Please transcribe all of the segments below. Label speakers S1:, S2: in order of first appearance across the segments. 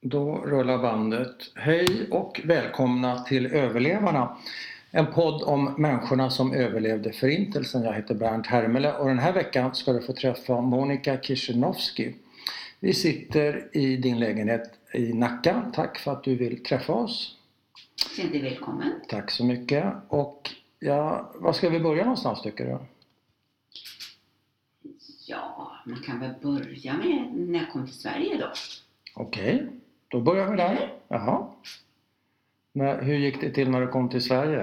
S1: Då rullar bandet. Hej och välkomna till Överlevarna. En podd om människorna som överlevde Förintelsen. Jag heter Bernt Hermele och den här veckan ska du få träffa Monica Kishinovsky. Vi sitter i din lägenhet i Nacka. Tack för att du vill träffa oss.
S2: Känn dig välkommen.
S1: Tack så mycket. Och ja, var ska vi börja någonstans tycker du?
S2: Ja, man kan väl börja med när jag kom till Sverige då.
S1: Okej, då börjar vi där. Jaha. När, hur gick det till när du kom till Sverige?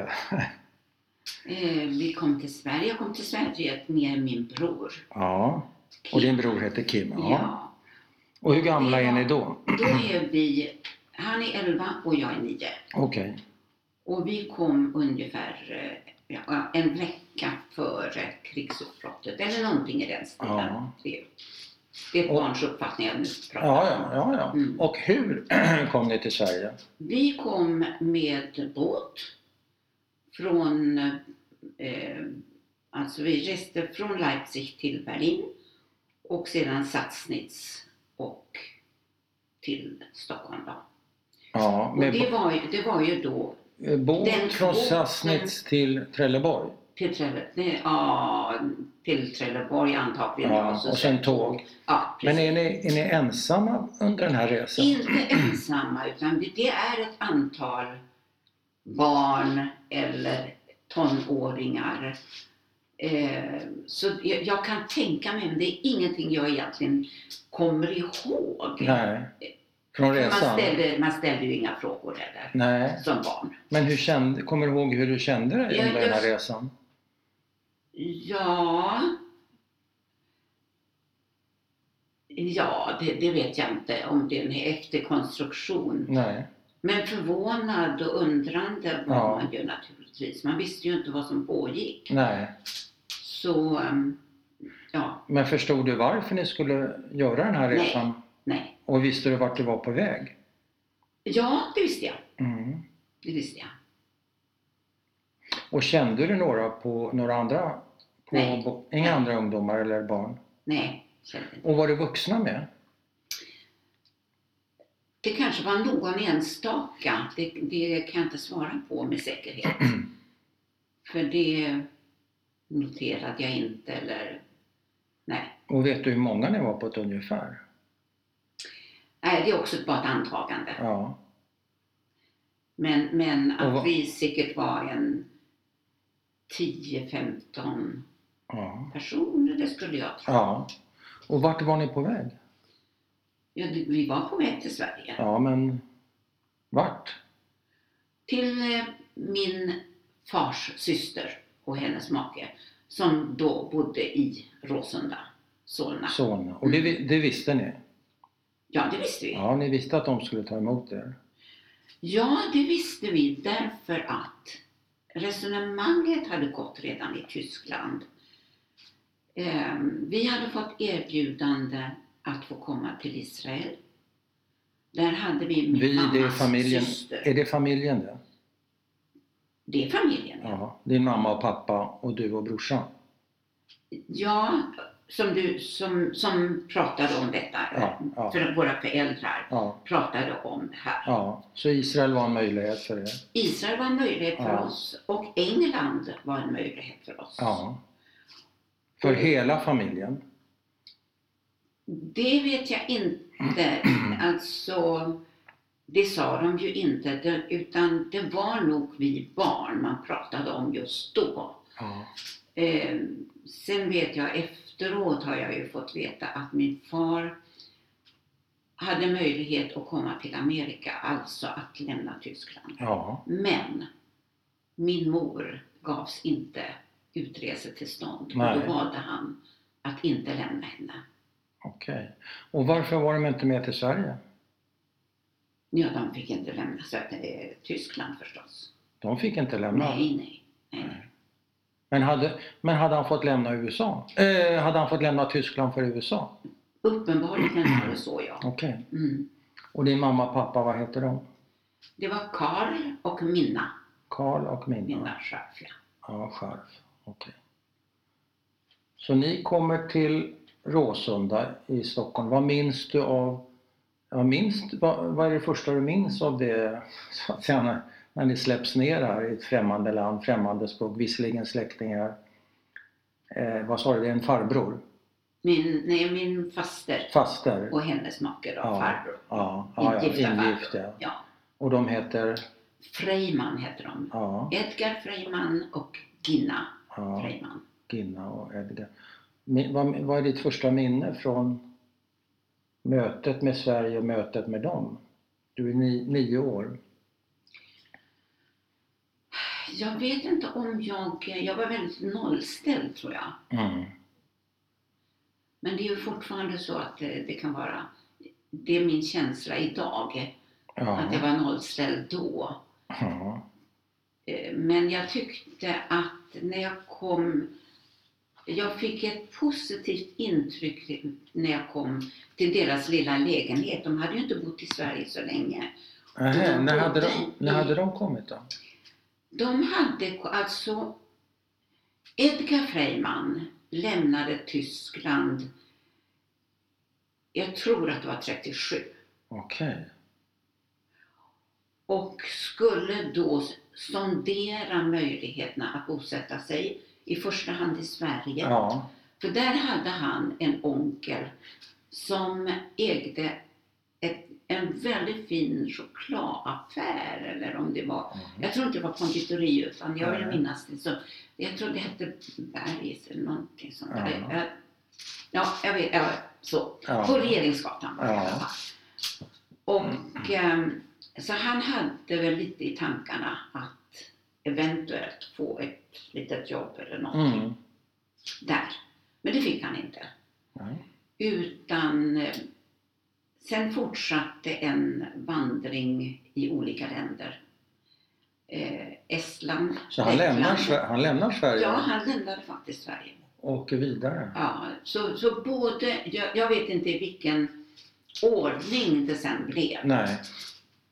S2: Eh, vi kom till Sverige. Jag kom till Sverige med min bror.
S1: Ja, och din bror heter Kim. Ja.
S2: Ja.
S1: Och hur gamla är ni då?
S2: Då är vi, han är 11 och jag är 9.
S1: Okej.
S2: Och vi kom ungefär eh, ja, en vecka före krigsutbrottet. Eller någonting i den stilen.
S1: Ja.
S2: Det, det är ett
S1: Och-
S2: barns uppfattning jag nu pratar
S1: Ja,
S2: om.
S1: ja, ja, ja.
S2: Mm.
S1: Och hur kom ni till Sverige?
S2: Vi kom med båt från, eh, alltså vi reste från Leipzig till Berlin och sedan Sassnitz och till Stockholm. Då.
S1: Ja,
S2: Och
S1: med
S2: det, var, ju- det var ju då
S1: b- båt
S2: den
S1: från
S2: båten-
S1: Sassnitz till Trelleborg.
S2: till, Trelle, nej, ja, till Trelleborg antagligen.
S1: Ja,
S2: då,
S1: och sen tåg.
S2: Ja,
S1: Men
S2: precis.
S1: är ni, är ni ensamma under den här resan?
S2: Inte ensamma, utan det- det är ett antal barn eller tonåringar. Eh, så jag, jag kan tänka mig, men det är ingenting jag egentligen kommer ihåg.
S1: Nej. Från
S2: För man,
S1: resan?
S2: ställde, man ställde ju inga frågor där,
S1: Nej.
S2: där som barn.
S1: Men hur kände, kommer du ihåg hur du kände dig
S2: Ja,
S1: under den här
S2: jag-
S1: resan?
S2: Ja... Ja, det, det vet jag inte om det är en efterkonstruktion.
S1: Nej.
S2: Men förvånad och undrande var
S1: Ja.
S2: man ju naturligtvis. Man visste ju inte vad som pågick.
S1: Nej.
S2: Så, ehm, ja,
S1: Men förstod du varför ni skulle göra den här
S2: Nej.
S1: resan?
S2: nej.
S1: Och visste du vart du var på väg?
S2: Ja, det visste jag.
S1: Mm.
S2: Det visste jag.
S1: Och kände du några på några andra? På,
S2: Nej.
S1: bo- inga andra ungdomar eller barn?
S2: Nej, kände inte.
S1: Och var det vuxna med?
S2: Det kanske var någon enstaka. Det, det kan jag inte svara på med säkerhet. För det noterade jag inte eller... Nej,
S1: Och vet du hur många ni var på ett ungefär?
S2: nej det är också bara ett antagande.
S1: Ja.
S2: Men, men
S1: Och vad-
S2: att vi säkert var en 10-15
S1: ja.
S2: personer, det skulle jag tro.
S1: ja. Och vart var ni på väg?
S2: Ja, det- vi var på väg till Sverige.
S1: Ja, men vart?
S2: Till eh, min fars syster och hennes make som då bodde i Råsunda, Solna.
S1: Solna. Och det, vi- det visste ni?
S2: Ja, det visste vi. Ja.
S1: Ja, ni visste att de skulle ta emot er?
S2: det visste vi därför att resonemanget hade gått redan i Tyskland. Eh, Vi hade fått erbjudande att få komma till Israel. Där hade vi min
S1: Vi, det är
S2: mammas
S1: familjen.
S2: syster.
S1: Är det familjen det?
S2: Det är familjen, ja.
S1: Ja. Din mamma och pappa och du och brorsan?
S2: Ja, som, du, som, som pratade om detta.
S1: Ja, ja.
S2: För våra föräldrar
S1: Ja.
S2: pratade om det här.
S1: ja. Så Israel var en möjlighet för er?
S2: Israel var en möjlighet för
S1: Ja.
S2: oss och England var en möjlighet för oss.
S1: Ja. För hela familjen?
S2: Det vet jag inte. Alltså, det sa de ju inte. Det- Utan det var nog vi barn man pratade om just då.
S1: Ja.
S2: Eh, sen vet jag efteråt har jag ju fått veta att min far hade möjlighet att komma till Amerika, alltså att lämna Tyskland.
S1: Ja.
S2: Men min mor gavs inte utresetillstånd och
S1: Nej.
S2: då valde han att inte lämna henne.
S1: Okej. Och varför var de inte med till Sverige?
S2: Ja, de fick inte lämna så att, eh, Tyskland förstås.
S1: De fick inte lämna.
S2: Nej, nej. nej.
S1: Men hade, men hade han fått lämna USA? Eh, hade han fått lämna Tyskland för USA?
S2: Uppenbarligen var det så, ja.
S1: Okej.
S2: Mm.
S1: Och din mamma och pappa, vad heter de?
S2: Det var Karl och Minna,
S1: Karl och Minna?
S2: Minna Scharf, ja.
S1: Ja, Scharf. Okej. Så ni kommer till Råsunda i Stockholm. Vad minns du av Jag minns, vad, vad är det första du minns av det, så att säga, när, när ni släpps ner här i ett främmande land, främmande språk, visserligen släktingar? Eh, vad sa du, det är en farbror?
S2: Min, nej, min faster
S1: Faster?
S2: och hennes make då,
S1: Ja.
S2: farbror.
S1: Ja, ja, ja
S2: Ingifta farbror.
S1: ingift ja.
S2: Ja.
S1: Och de heter?
S2: Freiman heter de.
S1: Ja,
S2: Edgar Freiman och Gina
S1: ja
S2: Freiman.
S1: Ginna och Edgar. Min, vad, vad är ditt första minne från mötet med Sverige och mötet med dem? Du är ni, nio år.
S2: Jag vet inte om jag... Jag var väldigt nollställd tror jag.
S1: Mm.
S2: Men det är ju fortfarande så att eh, det, det kan vara... Det är min känsla idag,
S1: Ja.
S2: att jag var nollställd då.
S1: Ja.
S2: Eh, Men jag tyckte att när jag kom... Jag fick ett positivt intryck till- när jag kom till deras lilla lägenhet. De hade ju inte bott i Sverige så länge.
S1: Nähä,
S2: de
S1: när, hade de,
S2: bodde
S1: när
S2: i-
S1: hade de kommit då?
S2: De hade ko- alltså... Edgar Freiman lämnade Tyskland, jag tror att det var 37.
S1: Okej.
S2: och skulle då sondera möjligheterna att bosätta sig i första hand i Sverige.
S1: Ja.
S2: För där hade han en onkel som ägde ett, en väldigt fin chokladaffär eller om det var,
S1: Mhm.
S2: jag tror inte det var konditori utan jag vill
S1: Nej.
S2: minnas det så, jag tror det hette Bergs eller någonting sånt där.
S1: Ja.
S2: Ja, ja jag vet, ja, så. På
S1: Ja.
S2: Regeringsgatan var det i alla
S1: Ja.
S2: fall. Och ehm, så han hade väl lite i tankarna att eventuellt få ett litet jobb eller någonting
S1: Mm.
S2: där. Men det fick han inte.
S1: Nej.
S2: Utan eh, sen fortsatte en vandring i olika länder. Eh, Estland,
S1: Så han
S2: Lettland.
S1: lämnar, Sve- han lämnar Sverige
S2: Ja, han lämnade faktiskt Sverige.
S1: och åker vidare?
S2: Ja, så, så både, jag, jag vet inte i vilken ordning det sen blev.
S1: Nej.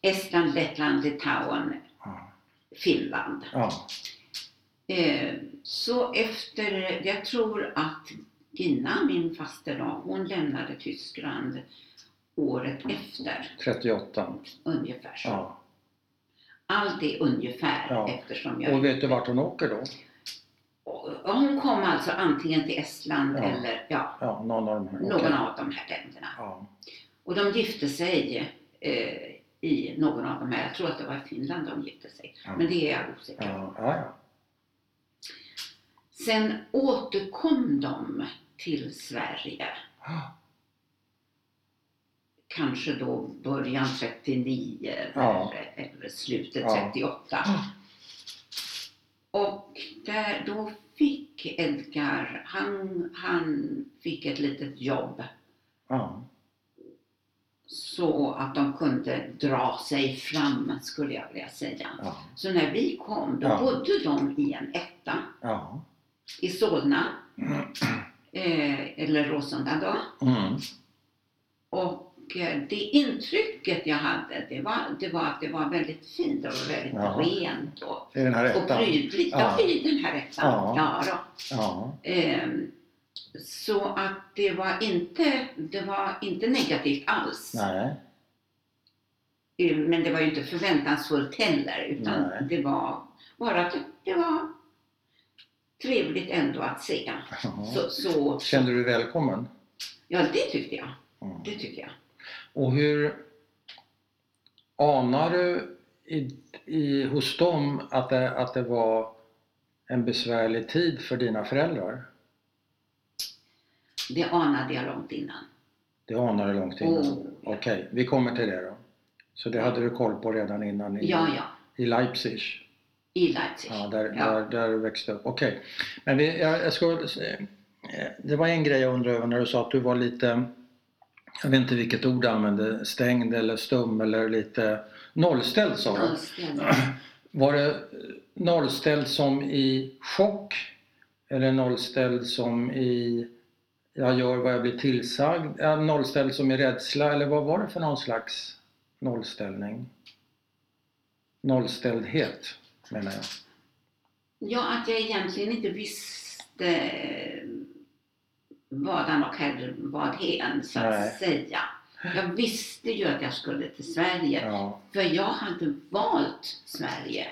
S2: Estland, Lettland, Litauen,
S1: Ja.
S2: Finland.
S1: Ja.
S2: Eh, så efter, jag tror att Gina, min faster då, hon lämnade Tyskland året efter,
S1: 38.
S2: ungefär så.
S1: Ja.
S2: Allt är ungefär
S1: Ja.
S2: eftersom jag...
S1: Och vet du vart hon åker då?
S2: Och Hon kom alltså antingen till Estland
S1: Ja.
S2: eller ja,
S1: Ja, någon av de här.
S2: någon
S1: Okej.
S2: av de här länderna.
S1: Ja.
S2: Och de gifte sig eh, i någon av de här, jag tror att det var i Finland de gifte sig,
S1: Ja.
S2: men det är jag osäker på.
S1: Ja. Ja. ja.
S2: Sen återkom de till Sverige, kanske då början 39
S1: Ja.
S2: eller, eller slutet
S1: Ja.
S2: 38. Och där, då fick Edgar, han, han fick ett litet jobb
S1: Ja.
S2: så att de kunde dra sig fram skulle jag vilja säga.
S1: Ja.
S2: Så när vi kom, då
S1: Ja.
S2: bodde de i en etta
S1: Ja.
S2: i Solna, eh, eller Råsunda då.
S1: Mm.
S2: Och eh, det intrycket jag hade, det var, det var att det var väldigt fint och väldigt
S1: Ja.
S2: rent och,
S1: I den här
S2: och
S1: ettan?
S2: prydligt.
S1: Ja.
S2: Ja, i den här ettan.
S1: Ja.
S2: Ja. då.
S1: Ja.
S2: Ehm, så att det var inte, det var inte negativt alls.
S1: Nej.
S2: Eh, Men det var ju inte förväntansfullt heller utan
S1: Nej.
S2: det var bara att det var trevligt ändå att se.
S1: Ja.
S2: Så, så
S1: Kände du dig välkommen?
S2: ja, det tyckte jag.
S1: Mm.
S2: Det tycker jag.
S1: Och hur anar du i, i, hos dem att det, att det var en besvärlig tid för dina föräldrar?
S2: Det anade jag långt innan.
S1: Det anar du långt innan?
S2: Oh.
S1: Okej, vi kommer till det då. Så det hade du koll på redan innan i,
S2: Ja, ja.
S1: i Leipzig?
S2: I Leipzig.
S1: Mm. Ja, där,
S2: Ja.
S1: Där, där du växte upp. Okej. Men vi, jag, jag ska, eh, det var en grej jag undrade över när du sa att du var lite, jag vet inte vilket ord du använde, stängd eller stum eller lite nollställd sa du.
S2: Nollställd.
S1: Var det eh, nollställd som i chock? Eller nollställd som i jag gör vad jag blir tillsagd? Ja, Nollställd som i rädsla? Eller vad var det för någon slags nollställning? Nollställdhet menar jag.
S2: Ja, att jag egentligen inte visste vadan och herrvadhen, så att
S1: Nej.
S2: säga. Jag visste ju att jag skulle till Sverige.
S1: Ja.
S2: För jag hade valt Sverige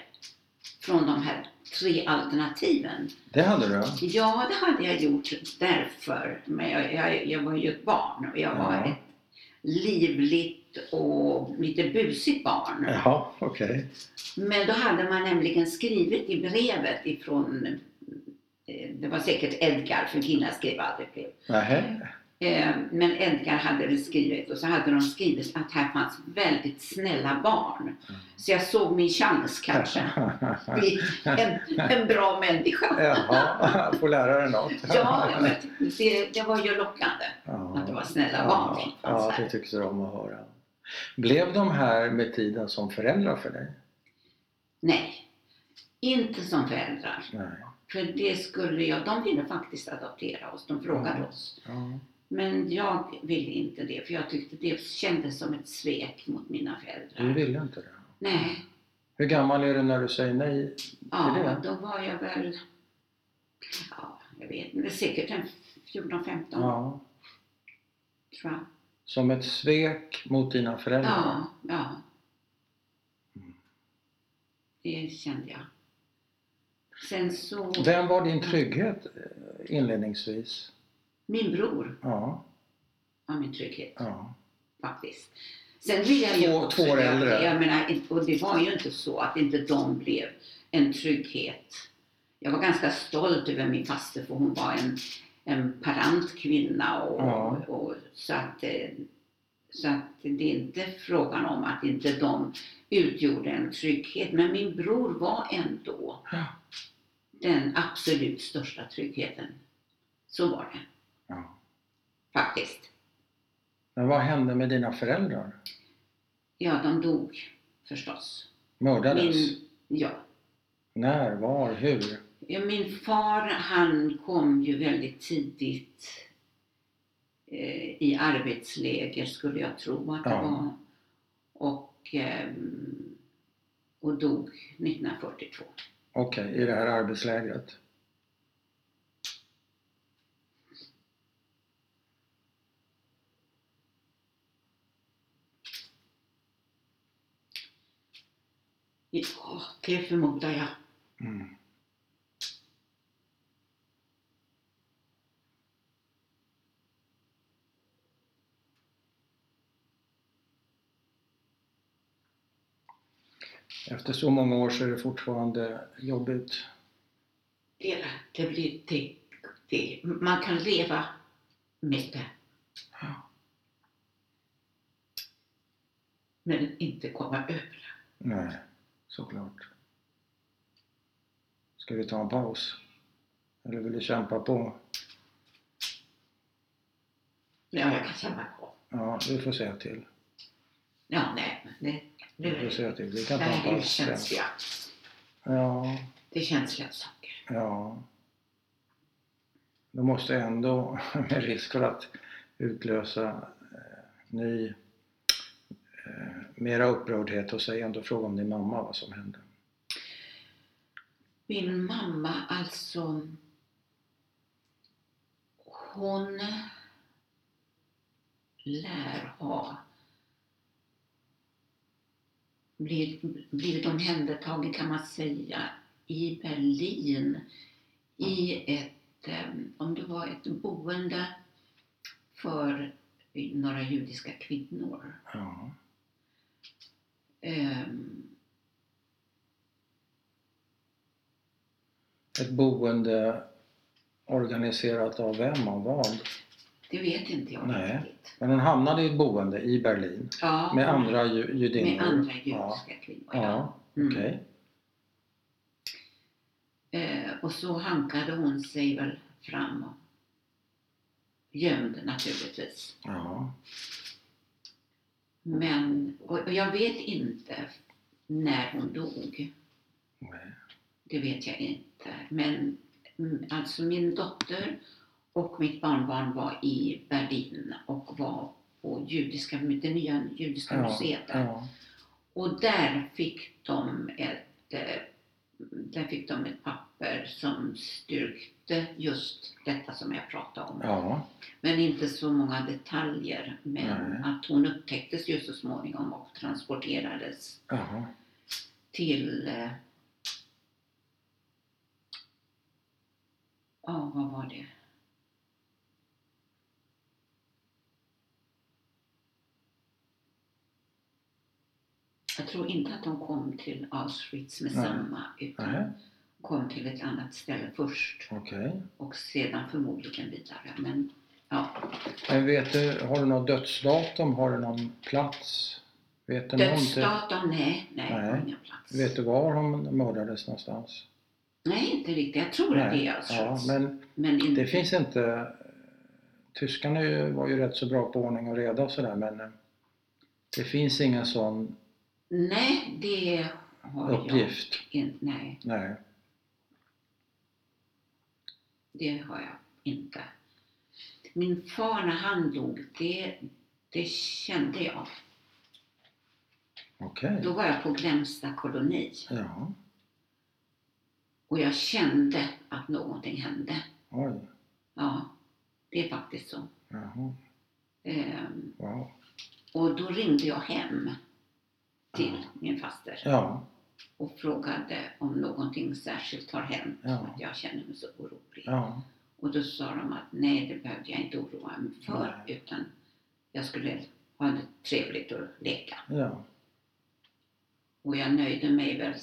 S2: från de här tre alternativen.
S1: Det hade du?
S2: Ja, det hade jag gjort därför. Men jag, jag, jag var ju ett barn och jag var
S1: Ja.
S2: ett livligt och lite busigt barn.
S1: Ja, okej.
S2: Men då hade man nämligen skrivit i brevet ifrån, eh, det var säkert Edgar, för killar skrev aldrig brev.
S1: Nähä.
S2: Eh, Men Edgar hade det skrivit och så hade de skrivit att här fanns väldigt snälla barn. Så jag såg min chans kanske. bli En, en bra människa.
S1: Jaha, får lära dig något.
S2: Ja, jag vet. Det, det var ju lockande
S1: Ja.
S2: att det var snälla
S1: Ja,
S2: barn som
S1: ja,
S2: fanns
S1: det
S2: här.
S1: tyckte de att höra. Blev de här med tiden som föräldrar för dig?
S2: Nej, inte som föräldrar.
S1: Nej.
S2: För det skulle jag, de ville faktiskt adoptera oss, de frågade
S1: Mm.
S2: oss.
S1: Ja.
S2: Men jag ville inte det, för jag tyckte det kändes som ett svek mot mina
S1: Du
S2: föräldrar.
S1: ville inte det?
S2: Nej,
S1: Hur gammal är du när du säger nej? Är
S2: ja,
S1: det?
S2: då var jag väl, ja, jag vet inte, säkert en 14-15
S1: Ja.
S2: tror jag.
S1: Som ett svek mot dina föräldrar?
S2: Ja, ja. Det kände jag. Sen så,
S1: Vem var din trygghet eh, inledningsvis?
S2: min bror
S1: Ja,
S2: var min trygghet
S1: ja.
S2: faktiskt. Sen vill jag ju
S1: Två-
S2: också,
S1: två år
S2: jag,
S1: äldre.
S2: jag menar, och det var ju inte så att inte de blev en trygghet. Jag var ganska stolt över min faster för hon var en, en parant kvinna och,
S1: Ja.
S2: och så att eh, så att det är inte frågan om att inte de utgjorde en trygghet. Men min bror var ändå
S1: Ja.
S2: den absolut största tryggheten. Så var det
S1: ja.
S2: faktiskt.
S1: Men vad hände med dina föräldrar?
S2: Ja, de dog förstås.
S1: Mördades?
S2: Min, ja.
S1: När? Var? Hur?
S2: Ja, Min far han kom ju väldigt tidigt eh, i arbetsläger skulle jag tro att det
S1: Ja.
S2: var. Och, ehm, och dog 1942.
S1: Okej, i det här arbetslägret?
S2: Ja, det förmodar jag.
S1: Mm. Efter så många år så är det fortfarande jobbigt.
S2: Det, det blir det, det. Man kan leva med det.
S1: Ja.
S2: Men inte komma över.
S1: Nej, såklart. Ska vi ta en paus? Eller vill du kämpa på?
S2: Ja, jag kan känna på.
S1: Ja, vi får säga till.
S2: Ja, nej, men det, nu
S1: Vi
S2: är
S1: får
S2: det,
S1: säga till. Vi
S2: det
S1: kan ta en
S2: här är ju
S1: paus sen.
S2: känsliga.
S1: Ja,
S2: Det är känsliga saker.
S1: ja. Då måste jag ändå, med risk för att utlösa eh, ny, eh, mera upprördhet och säga ändå fråga om din mamma vad som hände.
S2: Min mamma alltså. Hon lär ha blivit, blivit omhändertagen kan man säga i Berlin i ett, eh, om det var ett boende för några judiska kvinnor.
S1: Ja,
S2: Ehm,
S1: ett boende organiserat av vem och vad?
S2: Det vet inte jag
S1: Nej.
S2: riktigt.
S1: Men hon hamnade i ett boende i Berlin
S2: Ja,
S1: med andra ju- judinnor.
S2: med andra
S1: ja.
S2: judiska kvinnor.
S1: ja.
S2: Ja.
S1: okej.
S2: Mm. Eh, och så hankade hon sig väl fram och gömd naturligtvis.
S1: Ja.
S2: Men, och, och jag vet inte när hon dog.
S1: Nej.
S2: Det vet jag inte. Men mm, alltså min dotter och mitt barnbarn var i Berlin och var på judiska, det nya judiska
S1: Ja.
S2: museet där.
S1: Ja.
S2: Och där fick de ett eh, där fick de ett papper som styrkte just detta som jag pratade om.
S1: Ja.
S2: Men inte så många detaljer. Men
S1: Nej.
S2: att hon upptäcktes ju så småningom och transporterades
S1: Jaha.
S2: till... eh, Ja, vad var det? Jag tror inte att de kom till Auschwitz med
S1: Nej.
S2: samma utan
S1: Nej.
S2: kom till ett annat ställe först
S1: Okej.
S2: och sedan förmodligen vidare. Men ja,
S1: Men vet du, har du något dödsdatum? Har du någon plats? Vet du någonting?
S2: dödsdatum, nej, nej,
S1: Nej.
S2: det var ingen plats.
S1: Vet du var hon mördades någonstans?
S2: Nej, inte riktigt. Jag tror att det alltså? är
S1: Ja,
S2: Auschwitz.
S1: men
S2: men inte
S1: det finns inte... Tyskarna är ju- var ju rätt så bra på ordning och reda och sådär men eh, det finns ingen sån
S2: Nej, det har
S1: uppgift.
S2: jag inte. Nej,
S1: Nej.
S2: det har jag inte. Min far när han dog, det, det kände jag.
S1: Okej.
S2: Då var jag på Glämsta koloni
S1: Ja.
S2: och jag kände att någonting hände.
S1: Oj.
S2: Ja, det är faktiskt så.
S1: Jaha.
S2: Ehm,
S1: Wow.
S2: och då ringde jag hem till min faster
S1: Ja.
S2: och frågade om någonting särskilt har hänt.
S1: Ja.
S2: Att jag känner mig så orolig.
S1: Ja.
S2: Och då sa de att nej, det behövde jag inte oroa mig för utan jag skulle ha det trevligt och leka.
S1: Ja.
S2: Och jag nöjde mig väl,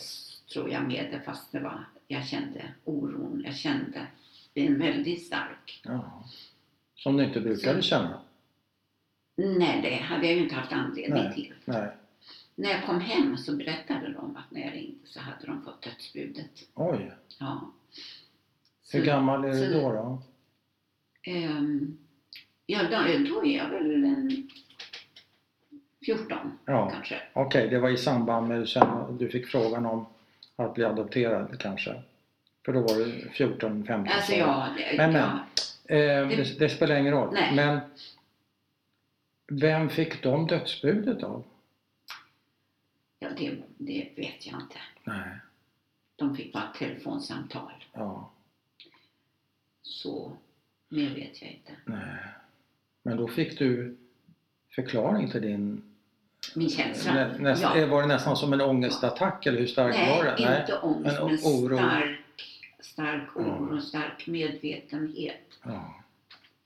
S2: tror jag, med det fast det var, jag kände oron, jag kände den väldigt stark.
S1: ja. Som du inte brukade känna?
S2: Nej, det hade jag ju inte haft anledning
S1: Nej.
S2: till.
S1: Nej.
S2: När jag kom hem så berättade de att när jag ringde så hade de fått dödsbudet.
S1: Oj.
S2: Ja. Så,
S1: Hur gammal är du
S2: så-
S1: då? då?
S2: ehm, ja, då, då är jag väl en 14
S1: Ja.
S2: kanske.
S1: Okej, det var i samband med sen du fick frågan om att bli adopterad kanske? För då var du 14, 15
S2: Alltså
S1: sa du.
S2: ja, det-
S1: Men, men.
S2: ja.
S1: Eh, det, det spelar ingen roll.
S2: Nej.
S1: Men vem fick de dödsbudet av?
S2: ja det, det vet jag inte.
S1: Nej.
S2: De fick bara ett telefonsamtal.
S1: Ja,
S2: Så mer vet jag inte.
S1: nej. Men då fick du förklaring till din...
S2: Min känsla.
S1: Nä, näst,
S2: ja.
S1: eh, Var det nästan som en ångestattack eller hur stark
S2: Nej,
S1: var den?
S2: inte ångest,
S1: Men
S2: men,
S1: o- oro.
S2: stark, stark oro,
S1: Ja.
S2: stark medvetenhet.
S1: Ja.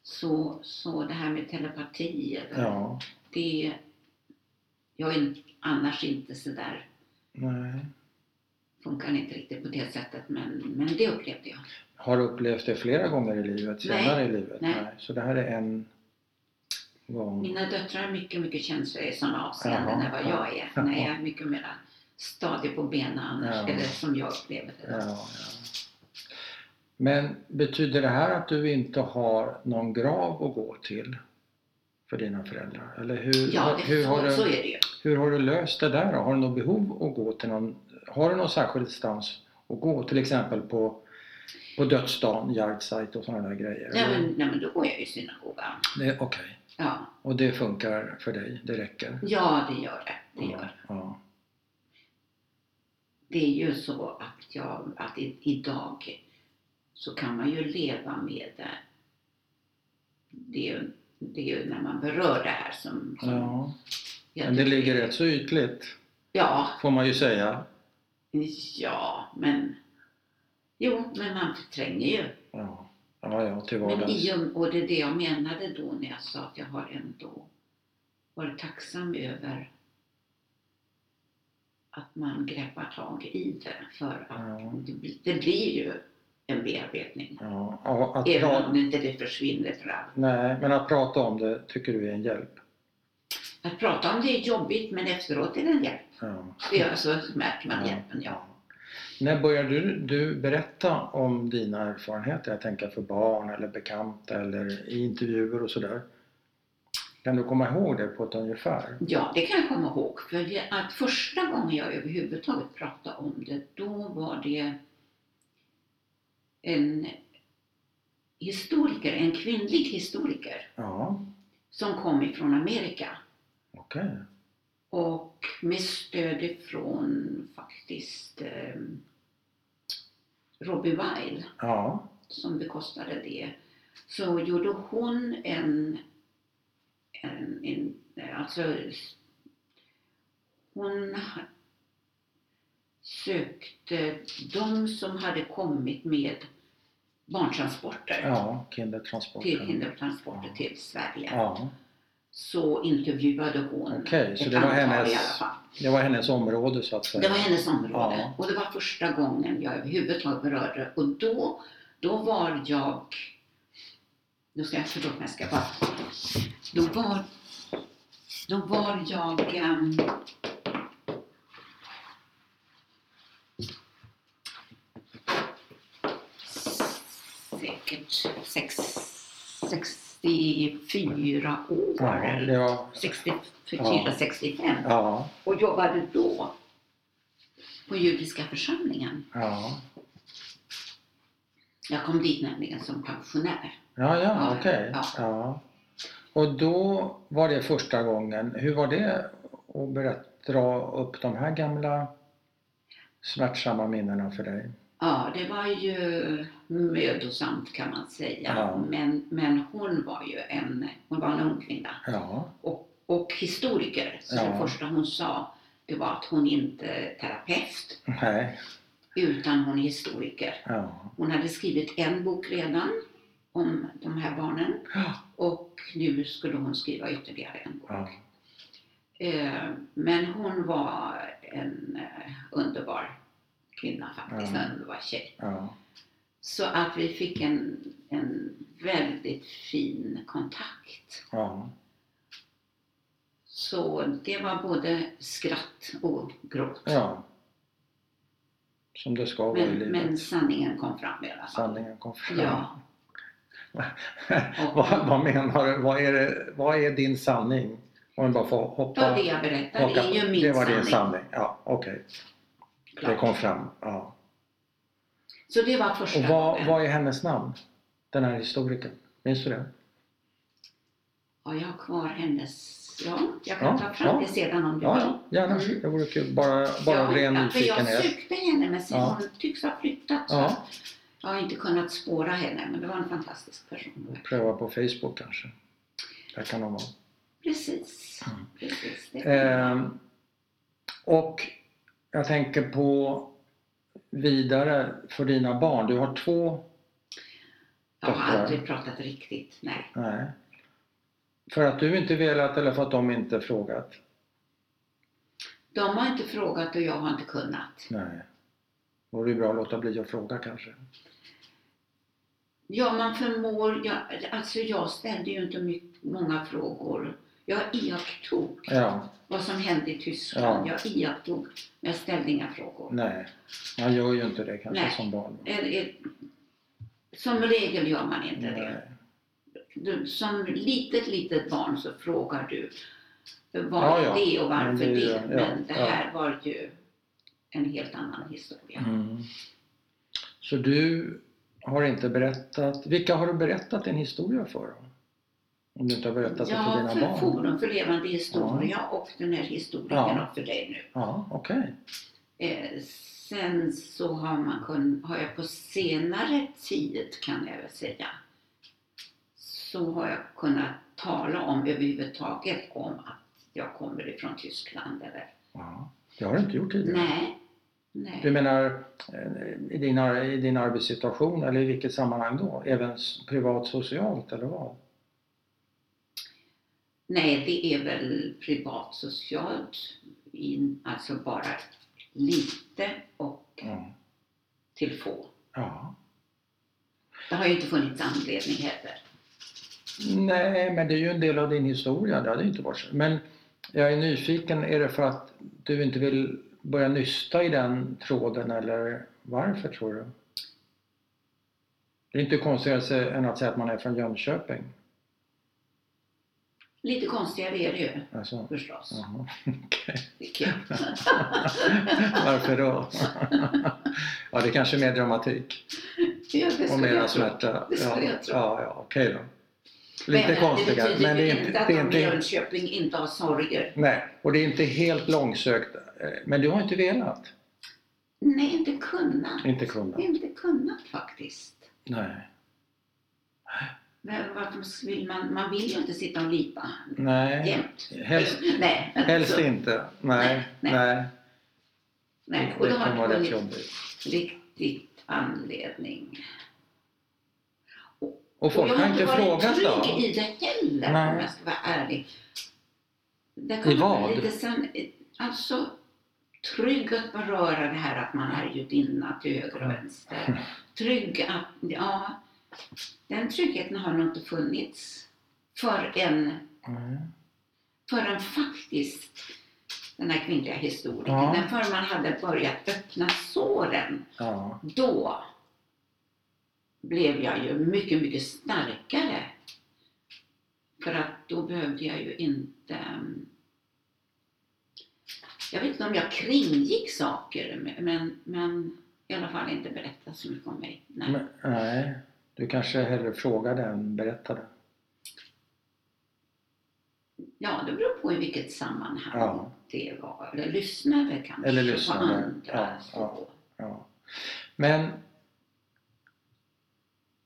S2: Så, så det här med telepati, eller,
S1: ja.
S2: det... Jag är in- annars inte sådär,
S1: Nej.
S2: funkar inte riktigt på det sättet, men, men det upplevde jag.
S1: Har du upplevt det flera gånger i livet?
S2: Nej.
S1: Senare i livet?
S2: Nej.
S1: Så det här är en gång?
S2: Mina döttrar har mycket, mycket känslor i sådana avseenden
S1: Jaha,
S2: än vad
S1: ja.
S2: jag är. När jag är mycket mer stadig på benen annars,
S1: Ja.
S2: eller som jag upplever det.
S1: Ja, ja. Men betyder det här att du inte har någon grav att gå till för dina föräldrar? Eller hur,
S2: Ja, det,
S1: hur,
S2: så,
S1: har,
S2: så
S1: du,
S2: är det ju.
S1: hur har du löst det där? då? Har du något behov att gå till någon? Har du någon särskild stans att gå? Till exempel på, på dödsdagen, yardsite och sådana där grejer?
S2: Nej
S1: eller?
S2: men, nej men då går jag ju i synagogan.
S1: Det- Okej,
S2: Ja.
S1: och det funkar för dig? Det räcker?
S2: ja, det gör det. det,
S1: Mm.
S2: gör. det.
S1: Ja,
S2: Det är ju så att, jag, att i, idag så kan man ju leva med det. Det är ju, det är ju när man berör det här som... som
S1: ja.
S2: jag
S1: Men det
S2: tycker-
S1: ligger rätt så ytligt,
S2: Ja,
S1: får man ju säga.
S2: ja, men... Jo, men man förtränger ju.
S1: Ja, ja, ja till
S2: Men
S1: vardags.
S2: i och, och det är det jag menade då när jag sa att jag har ändå varit tacksam över att man greppar tag i det. För att
S1: Ja.
S2: det, blir- det blir ju en bearbetning.
S1: Ja, och att
S2: Även
S1: pra-
S2: om det inte det försvinner för allt.
S1: Nej, men att prata om det tycker du är en hjälp.
S2: Att prata om det är jobbigt men efteråt är det en hjälp.
S1: Ja.
S2: Det är så märker man hjälpen, ja.
S1: När började du, du berätta om dina erfarenheter? Jag tänker för barn eller bekanta eller i intervjuer och sådär. Kan du komma ihåg det på ett ungefär?
S2: Ja, det kan jag komma ihåg. För det, att första gången jag överhuvudtaget pratade om det, då var det en historiker, en kvinnlig historiker,
S1: Ja,
S2: som kom ifrån Amerika.
S1: okej.
S2: Och med stöd ifrån faktiskt eh, Robbie Weil
S1: Ja.
S2: som bekostade det, så gjorde hon en, en, en alltså, hon ha- sökte de som hade kommit med barntransporter
S1: Ja,
S2: till
S1: Kindertransporten.
S2: hindertransporter
S1: Ja.
S2: till Sverige.
S1: Ja.
S2: Så intervjuade hon
S1: Okej, så
S2: ett
S1: det var
S2: antal
S1: hennes-
S2: i alla fall.
S1: Det var hennes område så att säga.
S2: Det var hennes område.
S1: Ja.
S2: Och det var första gången jag överhuvudtaget berörde Och då, då var jag... Nu ska jag, förlåt mig, jag ska bara... Då var, då var jag... ehm, säkert sex, 64 år.
S1: Ja,
S2: eller
S1: det var,
S2: 64,
S1: Ja.
S2: 65
S1: ja,
S2: och jobbade då på judiska församlingen.
S1: ja.
S2: Jag kom dit nämligen som pensionär.
S1: Ja, ja,
S2: Ja,
S1: okej.
S2: ja.
S1: Ja. Och då var det första gången. Hur var det att berätta, dra upp de här gamla smärtsamma minnena för dig?
S2: Ja, det var ju mödosamt kan man säga.
S1: Ja.
S2: Men, men hon var ju en, hon var en ung kvinna
S1: Ja,
S2: och, och historiker. Så det
S1: Ja.
S2: första hon sa det var att hon inte är terapeut
S1: nej,
S2: utan hon är historiker.
S1: ja,
S2: Hon hade skrivit en bok redan om de här barnen
S1: Ja.
S2: och nu skulle hon skriva ytterligare en bok.
S1: ja,
S2: Eh, Men hon var en eh, underbar kvinna faktiskt,
S1: Ja.
S2: en underbar tjej.
S1: ja,
S2: Så att vi fick en, en väldigt fin kontakt.
S1: ja,
S2: Så det var både skratt och gråt.
S1: ja. Som det ska vara i
S2: Men,
S1: livet.
S2: men sanningen kom fram i alla fall.
S1: Sanningen kom fram.
S2: Ja. Och
S1: vad, vad menar du? Vad är, det, vad är din sanning? Om jag bara får hoppa...
S2: ja, det jag berättar
S1: haka
S2: är
S1: på.
S2: ju min
S1: det var
S2: sanning.
S1: din sanning. Ja, okej. Det
S2: klart.
S1: kom fram. Ja.
S2: Så det var första
S1: Och vad,
S2: gången.
S1: vad är hennes namn? Den här historikern. Minns du det?
S2: Har jag kvar hennes... Ja, jag kan
S1: Ja,
S2: ta fram
S1: ja.
S2: det sedan om du
S1: Ja,
S2: vill.
S1: ja gärna.
S2: Mm.
S1: Det vore kul. Bara, bara av ren
S2: ja, för jag
S1: nyfikenhet.
S2: sökte henne men sen
S1: Ja.
S2: hon tycks ha flyttat. så
S1: Ja.
S2: att Jag har inte kunnat spåra henne men det var en fantastisk person.
S1: Pröva på Facebook kanske. Där kan hon vara.
S2: Precis.
S1: Mm.
S2: Precis. Det kan
S1: Ehm, och jag tänker på vidare för dina barn. Du har två
S2: jag har
S1: bra.
S2: aldrig pratat riktigt. Nej.
S1: Nej. För att du inte velat eller för att de inte frågat?
S2: De har inte frågat och jag har inte kunnat.
S1: Nej. Vore ju bra att låta bli att fråga kanske.
S2: Ja, man förmår... Jag, alltså jag ställde ju inte mycket, många frågor. Jag iakttog
S1: Ja,
S2: vad som hände i Tyskland.
S1: Ja.
S2: Jag iakttog, men jag ställde inga frågor.
S1: nej. Man gör ju inte det kanske
S2: Nej.
S1: som barn.
S2: Eh, eh, Som regel gör man inte det.
S1: Nej.
S2: du, som litet, litet barn så frågar du vad
S1: Ja, ja.
S2: det och varför
S1: Men det
S2: det.
S1: är ju- ja,
S2: Men det
S1: ja.
S2: här var ju en helt annan historia.
S1: Mm. Så du har inte berättat. Vilka har du berättat din historia för? då? Om du inte har berättat det för
S2: Ja,
S1: dina
S2: för
S1: barn?
S2: Forum för levande historia och den här historikern
S1: Ja.
S2: och för dig nu.
S1: Ja, okej.
S2: Eh, sen så har, man kun, har jag på senare tid, kan jag väl säga, så har jag kunnat tala om överhuvudtaget om att jag kommer ifrån Tyskland. Eller,
S1: Ja. Det har du inte gjort tidigare.
S2: nej, nej.
S1: Du menar eh, i din, ar- i din arbetssituation eller i vilket sammanhang då? Även s- privat socialt eller vad?
S2: Nej, det är väl privat socialt, in, alltså bara lite och
S1: Mm.
S2: till få.
S1: Ja.
S2: Det har ju inte funnits anledning heller.
S1: Nej, men det är ju en del av din historia. Det hade ju inte varit så. Men jag är nyfiken. Är det för att du inte vill börja nysta i den tråden eller varför tror du? Det är inte konstigare se- än att säga att man är från Jönköping.
S2: Lite konstigare är det ju
S1: Alltså,
S2: förstås.
S1: jaha.
S2: Det är kul.
S1: Varför då? ja, det är kanske är mer dramatik
S2: Ja, det
S1: och
S2: skulle
S1: mera
S2: jag tro.
S1: smärta.
S2: Det skulle
S1: ja,
S2: jag tro.
S1: Ja, ja, okej då. Lite konstigare.
S2: Men det betyder ju
S1: är
S2: inte att
S1: det är
S2: de i Jönköping inte har sorger.
S1: Nej, och det är inte helt långsökt. Eh, Men du har inte velat.
S2: Nej, inte kunnat.
S1: Inte kunnat.
S2: Inte kunnat faktiskt.
S1: Nej.
S2: Men varför vill man, man vill ju inte sitta och lipa
S1: Nej.
S2: jämt.
S1: Helst,
S2: nej,
S1: helst
S2: alltså,
S1: inte. Nej.
S2: Nej,
S1: Nej.
S2: nej. Och
S1: Det
S2: då
S1: kan
S2: har
S1: vara
S2: det
S1: rätt
S2: funnits
S1: jobbigt.
S2: riktigt anledning.
S1: Och folk
S2: jag
S1: har inte
S2: varit
S1: frågat
S2: trygg
S1: då.
S2: i det heller
S1: Nej.
S2: om jag ska vara ärlig. Det
S1: I vad?
S2: Lite sen, alltså trygg att beröra det här att man är judinna till höger och vänster. Trygg att, ja, den tryggheten har nog inte funnits förrän,
S1: Nej.
S2: förrän faktiskt den här kvinnliga historien,
S1: Ja.
S2: den förrän man hade börjat öppna såren
S1: Ja.
S2: då blev jag ju mycket, mycket starkare. För att då behövde jag ju inte... mm, Jag vet inte om jag kringgick saker, men, men i alla fall inte berätta så mycket om mig. Nej.
S1: Men, nej. Du kanske hellre frågade än berättade.
S2: Ja, det beror på i vilket sammanhang
S1: Ja.
S2: det var. Eller lyssnade kanske
S1: Eller lyssnade,
S2: på andra.
S1: ja,
S2: så.
S1: ja. Ja. Men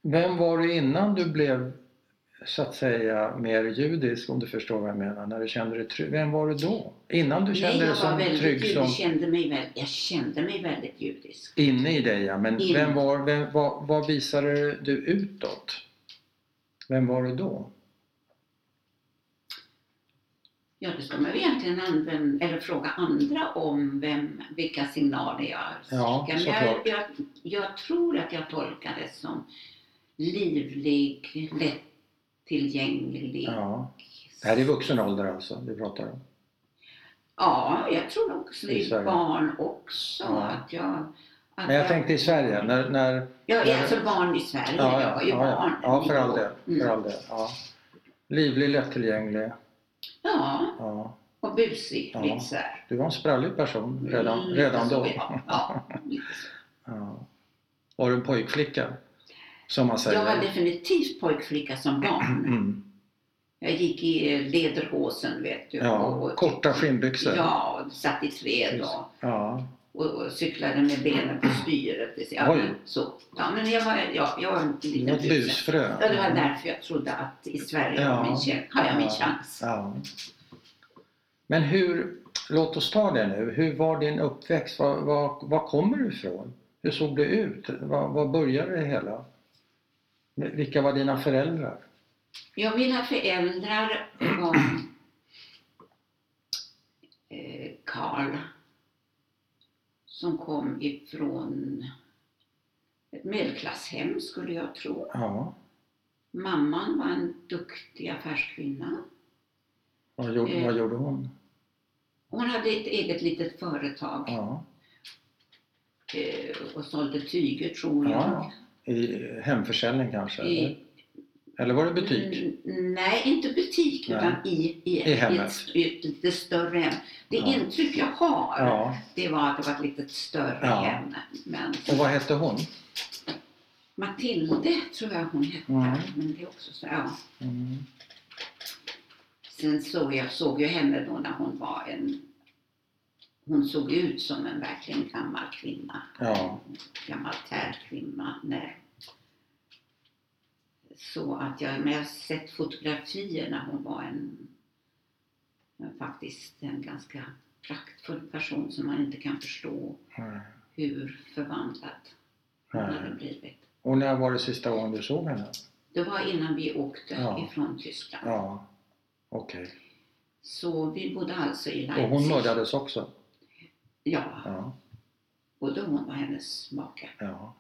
S1: vem var du innan du blev så att säga mer judisk om du förstår vad jag menar? När du kände dig trygg. Vem var du då? Innan du kände
S2: Nej,
S1: dig
S2: jag var
S1: som
S2: väldigt
S1: trygg
S2: judisk.
S1: som
S2: Kände mig väl, jag kände mig väldigt judisk.
S1: inne i dig ja. Men
S2: In.
S1: vem var, vem, vad, vad visade du utåt? Vem var du då?
S2: Ja, det ska man väl egentligen använda, eller fråga andra om vem, vilka signaler jag
S1: Ja,
S2: skickar. Men
S1: såklart.
S2: jag, jag, jag tror att jag tolkades som livlig, lättillgänglig. Ja.
S1: Ja. Det här är vuxen ålder alltså vi pratar om.
S2: ja, jag tror också
S1: I
S2: i
S1: Sverige.
S2: barn också
S1: Ja.
S2: att jag... Att
S1: Men jag tänkte i Sverige. När, när,
S2: Jag är alltså barn i Sverige, jag var ju barn.
S1: ja, ja, för all del. För
S2: Mm.
S1: all del ja. Livlig, lättillgänglig.
S2: Ja,
S1: Ja.
S2: och busig.
S1: Ja.
S2: Lite så här.
S1: Du var en sprallig person redan,
S2: Mm,
S1: redan
S2: så,
S1: då.
S2: Ja, ja, lite så.
S1: Ja. Var du en pojkflicka? Som man säger.
S2: Jag var definitivt pojkflicka som barn.
S1: Mm.
S2: Jag gick i lederhosen vet du.
S1: Ja, korta skinnbyxor.
S2: Ja, och satt i fred
S1: Precis.
S2: och,
S1: Ja.
S2: och, och cyklade med benen på styret. precis. Ja,
S1: Oj.
S2: men så. ja, men jag var, ja, jag var en
S1: Det
S2: liten
S1: var ett
S2: buse.
S1: busfrö.
S2: Ja, det var därför jag trodde att i Sverige
S1: Ja.
S2: har, min, chan- har jag min
S1: Ja.
S2: chans.
S1: Ja. Men hur, låt oss ta det nu. Hur var din uppväxt? Var, var, var kommer du ifrån? Hur såg det ut? Var, var började det hela? Vilka var dina föräldrar?
S2: Ja, mina föräldrar var eh, Karl som kom ifrån ett medelklasshem skulle jag tro.
S1: Ja.
S2: Mamman var en duktig affärskvinna.
S1: Vad gjorde,
S2: Eh.
S1: vad gjorde hon?
S2: Hon hade ett eget litet företag
S1: Ja.
S2: eh, och sålde tyger tror jag.
S1: Ja, I hemförsäljning kanske?
S2: I,
S1: Eller var det butik?
S2: Mm, nej, inte butik
S1: Nej.
S2: utan i, i,
S1: I hemmet.
S2: ett, i ett lite större hem. Det
S1: Ja.
S2: intryck jag har
S1: Ja.
S2: det var att det var ett lite större
S1: Ja.
S2: hem. Men
S1: Och vad hette hon?
S2: Matilde tror jag hon hette.
S1: Mm.
S2: Men det är också så, ja.
S1: Mm.
S2: Sen såg jag såg ju henne då när hon var en... Hon såg ut som en verkligen gammal kvinna.
S1: Ja.
S2: gammal tärkvinna. Nej. Så att jag, men jag har sett fotografier när hon var en, en faktiskt en ganska praktfull person som man inte kan förstå
S1: Nej.
S2: hur förvandlad hon hade
S1: Nej.
S2: blivit.
S1: Och när var det sista gången du såg henne?
S2: Det var innan vi åkte
S1: Ja.
S2: ifrån Tyskland.
S1: Ja. Okej.
S2: Så vi bodde alltså i Leipzig.
S1: Och hon mördades också?
S2: Ja,
S1: Ja.
S2: både hon och hennes make.
S1: ja.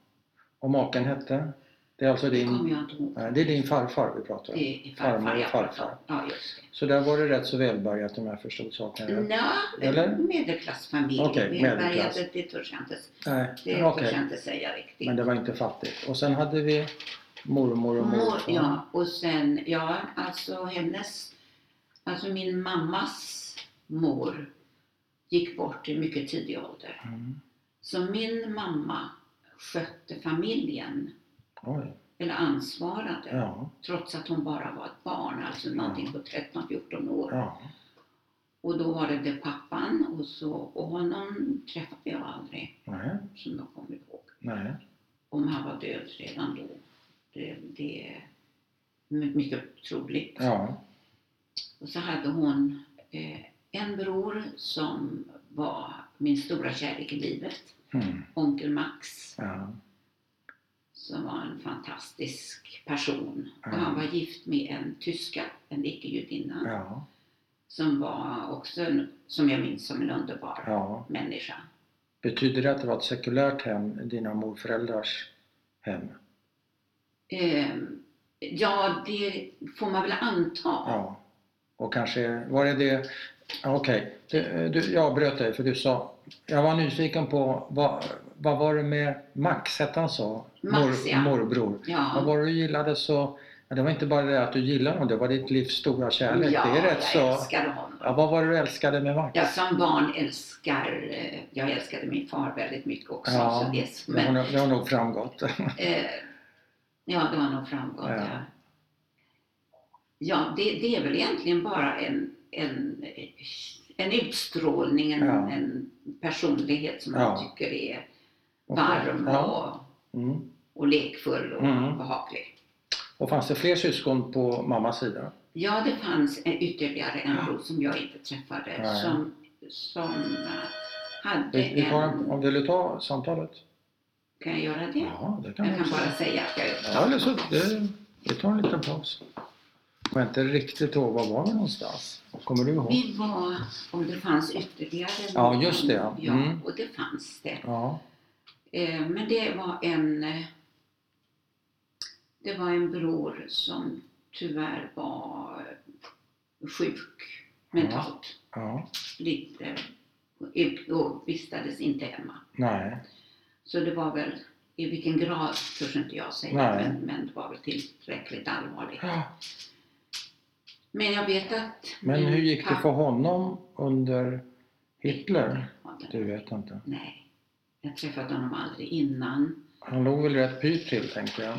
S1: Och maken hette? Det är alltså
S2: Det kommer
S1: din,
S2: jag inte ihåg.
S1: nej, det är din farfar vi pratar om?
S2: Det är farfar
S1: Farmor och
S2: jag pratar om.
S1: farfar.
S2: Ja, just det.
S1: Så där var det rätt så välbärgat om jag förstod saken rätt?
S2: Nja,
S1: Eller?
S2: medelklassfamilj.
S1: Okej, medelklass.
S2: Det, det törs jag inte,
S1: Nej,
S2: det
S1: okej.
S2: törs jag inte säga riktigt.
S1: Men det var inte fattigt. Och sen hade vi mormor och
S2: Mor,
S1: morfar.
S2: ja, och sen, ja, alltså hennes, alltså min mammas mor gick bort i mycket tidig ålder.
S1: Mm.
S2: Så min mamma skötte familjen,
S1: Oj.
S2: eller ansvarade,
S1: Ja.
S2: trots att hon bara var ett barn, alltså någonting på 13-14 år.
S1: ja.
S2: Och då var det, det pappan och, så, och honom träffade jag aldrig,
S1: Nej,
S2: som jag kommer ihåg.
S1: nej.
S2: Om han var död redan då. Det, det är my- mycket troligt.
S1: Ja,
S2: Och så hade hon eh, en bror som var min stora kärlek i livet,
S1: mm.
S2: onkel Max.
S1: ja.
S2: som var en fantastisk person.
S1: Ja.
S2: Och han var gift med en tyska, en icke-judinna,
S1: ja.
S2: som var också, en, som jag minns, som en underbar
S1: ja.
S2: människa.
S1: Betyder det att det var ett sekulärt hem, dina morföräldrars hem?
S2: Ehm, ja, det får man väl anta.
S1: Ja. Och kanske, var det det... ja, Okej, Det- du- jag bröt dig för du sa... Jag var nyfiken på vad, vad var det med Max, hette han så?
S2: Max, ja.
S1: Morbror.
S2: Ja.
S1: Vad var det du gillade så... Ja, det var inte bara det att du gillade honom, det var ditt livs stora kärlek.
S2: ja,
S1: det är rätt
S2: jag
S1: så...
S2: älskade honom.
S1: Ja, vad var det du älskade med Max?
S2: Jag som barn älskar, eh, jag älskade min far väldigt mycket också.
S1: Ja,
S2: Så det,
S1: Det, har,
S2: men,
S1: nog- det har nog framgått.
S2: eh, ja, det har nog framgått.
S1: Ja.
S2: Ja, ja. det, det är väl egentligen bara en, en, en utstrålning, en,
S1: Ja.
S2: en personlighet som
S1: Ja.
S2: jag tycker är varm
S1: Ja. Mm.
S2: och, och lekfull och
S1: Mm.
S2: behaglig.
S1: Och fanns det fler syskon på mammas sida?
S2: Ja, det fanns en, ytterligare en bror som jag inte träffade
S1: Ja, ja.
S2: som, som eh, hade
S1: Vi, vi tar,
S2: en...
S1: om du vill ta samtalet?
S2: Kan jag göra det?
S1: Ja, det kan
S2: Jag
S1: vi
S2: kan
S1: också.
S2: bara säga att jag är
S1: Ja, eller så. Det, vi tar en liten paus. Jag kommer inte riktigt ihåg var var vi någonstans. Kommer du ihåg?
S2: Vi var, om det fanns ytterligare
S1: Ja, just det, ja.
S2: Ja,
S1: Mm.
S2: och det fanns det.
S1: Ja,
S2: Eh, Men det var en eh, det var en bror som tyvärr var sjuk mentalt.
S1: ja,
S2: Lite, ut- och vistades inte hemma.
S1: nej,
S2: Så det var väl, i vilken grad törs inte jag säga,
S1: Nej.
S2: men, men det var väl tillräckligt allvarligt.
S1: ja.
S2: Men jag vet att
S1: Men
S2: min
S1: hur gick det
S2: pappa-
S1: för honom under Hitler? Du vet inte.
S2: Nej, jag träffade honom aldrig innan.
S1: Han låg väl rätt pyrt till, tänker jag.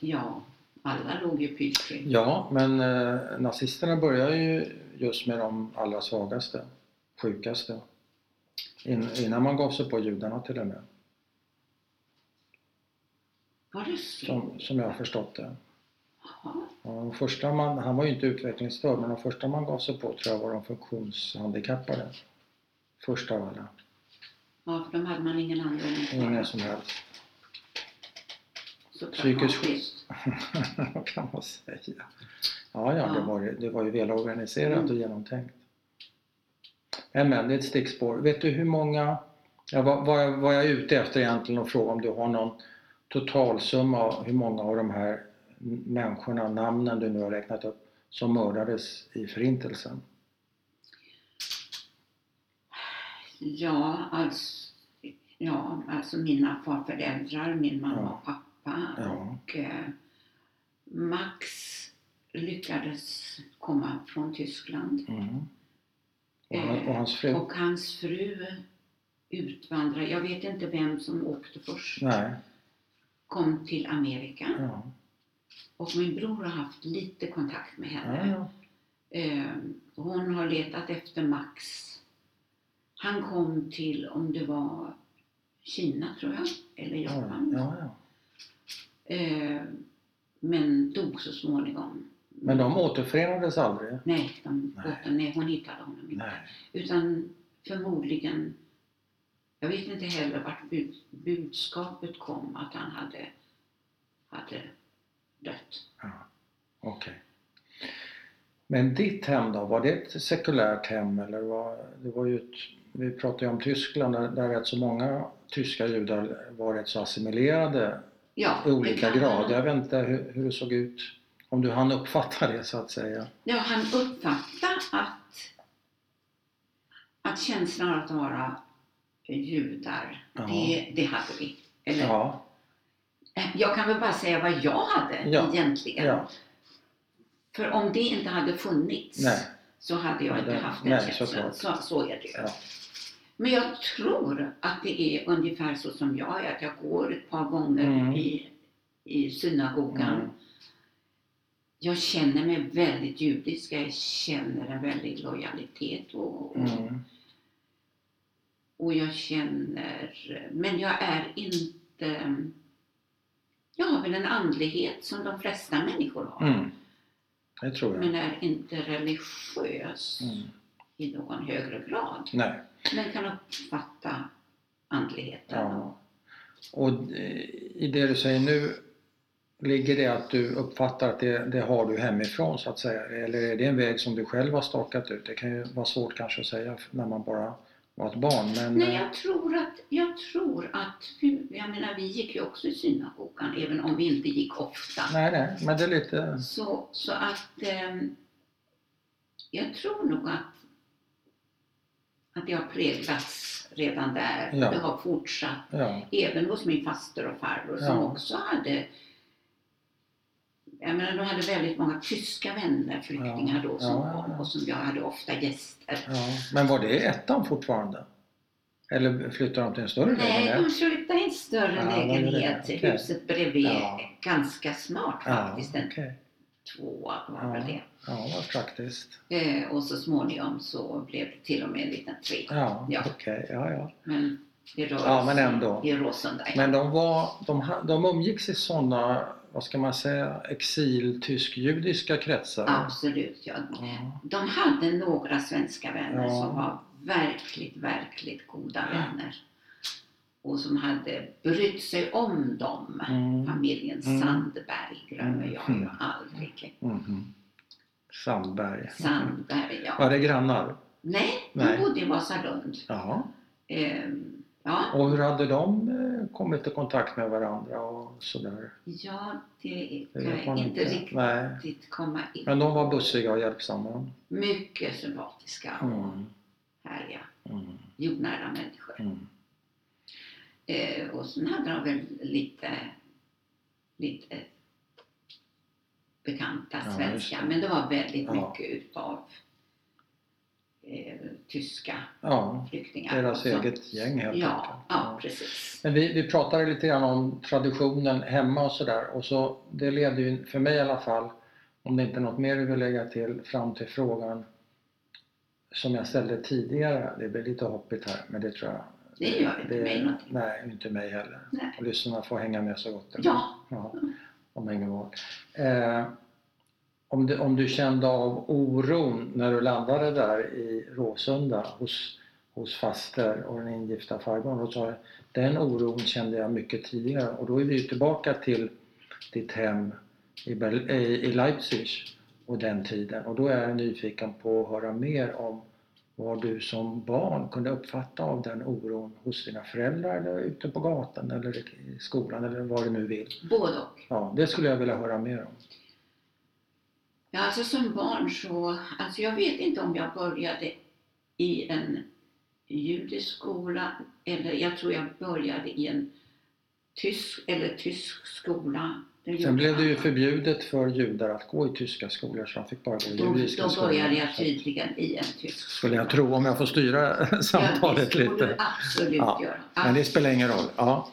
S2: Ja, alla låg ju pyrt
S1: Ja, men eh, nazisterna börjar ju just med de allra svagaste, sjukaste. In, innan man gav sig på judarna till och med,
S2: Var det så?
S1: som, som jag har förstått det.
S2: Jaha.
S1: Ja, de första man, han var ju inte utvecklingsstörd, men de första man gav sig på tror jag var de funktionshandikappade. Första av alla.
S2: Ja, för de hade man ingen användning för.
S1: Ingen som helst.
S2: Så
S1: Psykisk
S2: pragmatiskt.
S1: Vad kan man säga? Ja, ja, det
S2: Ja.
S1: var, ju- det var ju välorganiserat
S2: Mm.
S1: och genomtänkt. Men, men det är ett stickspår. Vet du hur många... Ja, vad, vad, jag, vad jag är ute efter egentligen och fråga om du har någon totalsumma av hur många av de här m- människorna, namnen du nu har räknat upp, som mördades i Förintelsen?
S2: Ja, alltså, ja, alltså mina farföräldrar, min mamma
S1: Ja.
S2: och pappa.
S1: Ja.
S2: Och, eh, Max lyckades komma från Tyskland.
S1: Mm. Och, han, och hans fru?
S2: Och hans fru utvandrade. Jag vet inte vem som åkte först.
S1: Nej.
S2: Kom till Amerika.
S1: Ja.
S2: Och min bror har haft lite kontakt med henne.
S1: Ja, ja.
S2: Eh, hon har letat efter Max. Han kom till, om det var Kina tror jag, eller
S1: Ja,
S2: Japan.
S1: ja, ja.
S2: Eh, men dog så småningom.
S1: Men de återförenades aldrig?
S2: Nej, de,
S1: Nej.
S2: båten- nej, hon hittade honom inte.
S1: Nej.
S2: Utan förmodligen, jag vet inte heller vart bud, budskapet kom att han hade, hade dött.
S1: Okej. Men ditt hem då, var det ett sekulärt hem eller var det var ju ett, vi pratade ju om Tyskland där, där rätt så många tyska judar var rätt så assimilerade
S2: Ja,
S1: i
S2: det
S1: olika
S2: kan
S1: grad.
S2: man-
S1: Jag vet inte hur, hur det såg ut, om du hann uppfatta det så att säga.
S2: Ja, han uppfattade att, att känslan av att vara judar,
S1: Ja.
S2: det, det hade vi. Eller,
S1: Ja,
S2: eh, Jag kan väl bara säga vad jag hade
S1: Ja.
S2: egentligen.
S1: ja,
S2: För om det inte hade funnits
S1: nej,
S2: så hade jag
S1: Nej,
S2: inte
S1: det-
S2: haft den
S1: nej,
S2: känslan.
S1: såklart.
S2: Så, så är det ju.
S1: Ja.
S2: Men jag tror att det är ungefär så som jag är, att jag går ett par gånger
S1: Mm.
S2: i, i synagogan
S1: Mm.
S2: jag känner mig väldigt judisk, jag känner en väldig lojalitet och,
S1: Mm.
S2: och jag känner, men jag är inte, jag har väl en andlighet som de flesta människor har,
S1: Mm. Det tror jag.
S2: men är inte religiös
S1: Mm.
S2: i någon högre grad,
S1: Nej.
S2: men kan uppfatta andligheten.
S1: Ja. Och eh, i det du säger nu, ligger det att du uppfattar att det, det har du hemifrån så att säga? Eller är det en väg som du själv har stakat ut? Det kan ju vara svårt kanske att säga när man bara var ett barn. Men,
S2: Nej,
S1: eh,
S2: jag tror att, jag tror att, jag menar vi gick ju också i synagogan, även om vi inte gick ofta.
S1: eh, nej, nej, men det är lite...
S2: Så, så att ehm, jag tror nog att, att jag har präglats redan där.
S1: Ja.
S2: Det har fortsatt.
S1: Ja.
S2: Även hos min faster och farbror som
S1: Ja.
S2: också hade jag menar, de hade väldigt många tyska vänner, flyktingar då, som
S1: Ja, ja,
S2: kom
S1: ja.
S2: och som jag hade ofta gäster.
S1: Ja, men var det ettan fortfarande? Eller flyttade de till en större
S2: Nej, de flyttade i en större
S1: Ja, vad är det?
S2: lägenhet till
S1: Okej.
S2: huset bredvid.
S1: Ja.
S2: Ganska smart
S1: Ja,
S2: faktiskt. En
S1: okej.
S2: tvåa var väl
S1: Ja.
S2: det.
S1: Ja, vad praktiskt.
S2: Eh, och så småningom så blev det till och med en liten tre.
S1: Ja,
S2: Ja.
S1: okej. Ja, ja.
S2: Men i Rås-
S1: Ja, men ändå.
S2: I Råsunda. ja.
S1: Men de, var, de, ha- de umgicks i sådana, vad ska man säga, exil-tysk-judiska kretsar?
S2: Absolut, ja.
S1: Ja.
S2: De hade några svenska vänner
S1: Ja.
S2: som var verkligt, verkligt goda vänner. Och som hade brytt sig om dem.
S1: Mm.
S2: Familjen
S1: Mm.
S2: Sandberg glömmer jag ju
S1: Mm.
S2: aldrig.
S1: Mhm. Sandberg.
S2: Sandberg, ja.
S1: Var det grannar?
S2: Nej, de
S1: Nej.
S2: bodde i Vasalund.
S1: Ja.
S2: Ehm, ja.
S1: Och hur hade de eh, kommit i kontakt med varandra och sådär?
S2: ja, det
S1: Det
S2: kan
S1: vet man
S2: jag inte riktigt
S1: Nej.
S2: komma in
S1: Men de var bussiga och hjälpsamma?
S2: Mycket sympatiska och
S1: Mm.
S2: härliga,
S1: Mm.
S2: jordnära människor.
S1: Mm.
S2: Eh, och sen hade de väl lite, lite bekanta
S1: Ja,
S2: svenska,
S1: just det.
S2: men det var väldigt
S1: Ja.
S2: mycket utav eh, tyska
S1: Ja,
S2: flyktingar.
S1: deras
S2: också.
S1: eget gäng helt
S2: Ja,
S1: enkelt.
S2: ja, precis.
S1: Men vi, vi pratade lite grann om traditionen hemma och sådär och så det leder ju, för mig i alla fall, om det inte är något mer du vill lägga till, fram till frågan som jag ställde tidigare. Det blir lite hoppigt här men det tror jag.
S2: Det gör inte mig någonting.
S1: Nej, inte mig heller.
S2: Nej.
S1: Och lyssnarna får hänga med så gott det går.
S2: Ja,
S1: Ja, om Engevall. Eh, om, du, om du kände av oron när du landade där i Råsunda hos, hos faster och den ingifta farbrorn. Då sa jag, den oron kände jag mycket tidigare och då är vi ju tillbaka till ditt hem i, Berl- eh, i Leipzig och den tiden och då är jag nyfiken på att höra mer om vad du som barn kunde uppfatta av den oron hos dina föräldrar eller ute på gatan eller i skolan eller vad du nu vill.
S2: både och.
S1: Ja, det skulle jag vilja höra mer om.
S2: Ja, alltså som barn så, alltså jag vet inte om jag började i en judisk skola eller jag tror jag började i en tysk eller tysk skola. Det gjorde
S1: Sen blev det ju
S2: jag.
S1: förbjudet för judar att gå i tyska skolor så han fick bara gå i
S2: då,
S1: judiska
S2: då
S1: skolor.
S2: började jag tydligen i en tysk skola.
S1: Skulle jag tro om jag får styra samtalet
S2: Ja, det får du
S1: lite.
S2: absolut
S1: Ja,
S2: göra.
S1: Men det spelar ingen roll. Ja.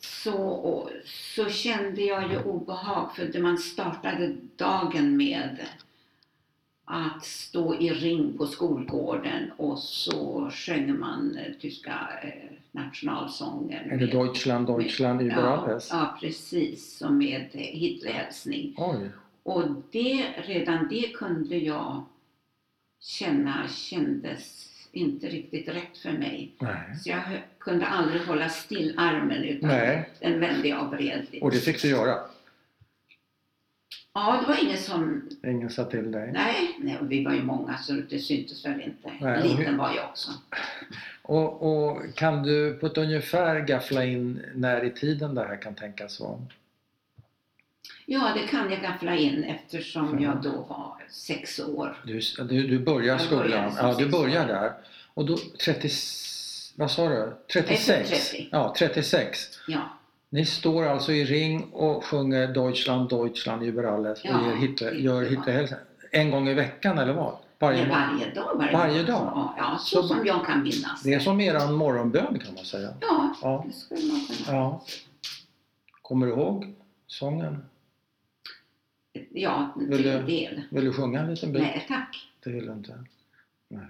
S2: så, och, så kände jag ju obehag för det man startade dagen med att stå i ring på skolgården och så sjöng man eh, tyska eh, nationalsånger.
S1: Är det Deutschland, Deutschland, über
S2: ja,
S1: alles?
S2: ja, precis. Och med eh, Hitlerhälsning.
S1: Oj.
S2: Och det, redan det kunde jag känna kändes inte riktigt rätt för mig.
S1: Nej.
S2: Så jag hö- kunde aldrig hålla still armen utan
S1: Nej.
S2: den vände jag vred lite.
S1: Och det fick du göra.
S2: Ja, det var ingen som...
S1: Ingen sa till dig.
S2: Nej, nej och vi var ju många så det syntes väl inte.
S1: Nej, och
S2: Liten
S1: hur-
S2: var jag också.
S1: Och, och kan du på ett ungefär gaffla in när i tiden det här kan tänkas vara?
S2: Ja, det kan jag gaffla in eftersom
S1: Mm.
S2: jag då var sex år.
S1: Du, du, du börjar
S2: Jag började
S1: skolan,
S2: som
S1: ja du
S2: sexåring.
S1: börjar där. Och då 30, vad sa du? 36?
S2: Efter 30.
S1: Ja, 36.
S2: Ja,
S1: Ni står alltså i ring och sjunger Deutschland, Deutschland über alles och
S2: Ja,
S1: ger Hitler, gör
S2: det var-
S1: Hitlerhälsning. En gång i veckan eller vad? Varje
S2: men
S1: morgon.
S2: varje dag. Varje,
S1: Varje
S2: dag? Ja, så,
S1: Så-
S2: som jag kan minnas.
S1: Det är som eran morgonbön kan man säga.
S2: Ja,
S1: Ja.
S2: det skulle man kunna.
S1: ja. Kommer du ihåg sången?
S2: ja, en
S1: Vill du-
S2: tredjedel.
S1: Vill du sjunga en liten bit?
S2: Nej, tack.
S1: Det vill du inte? Nej.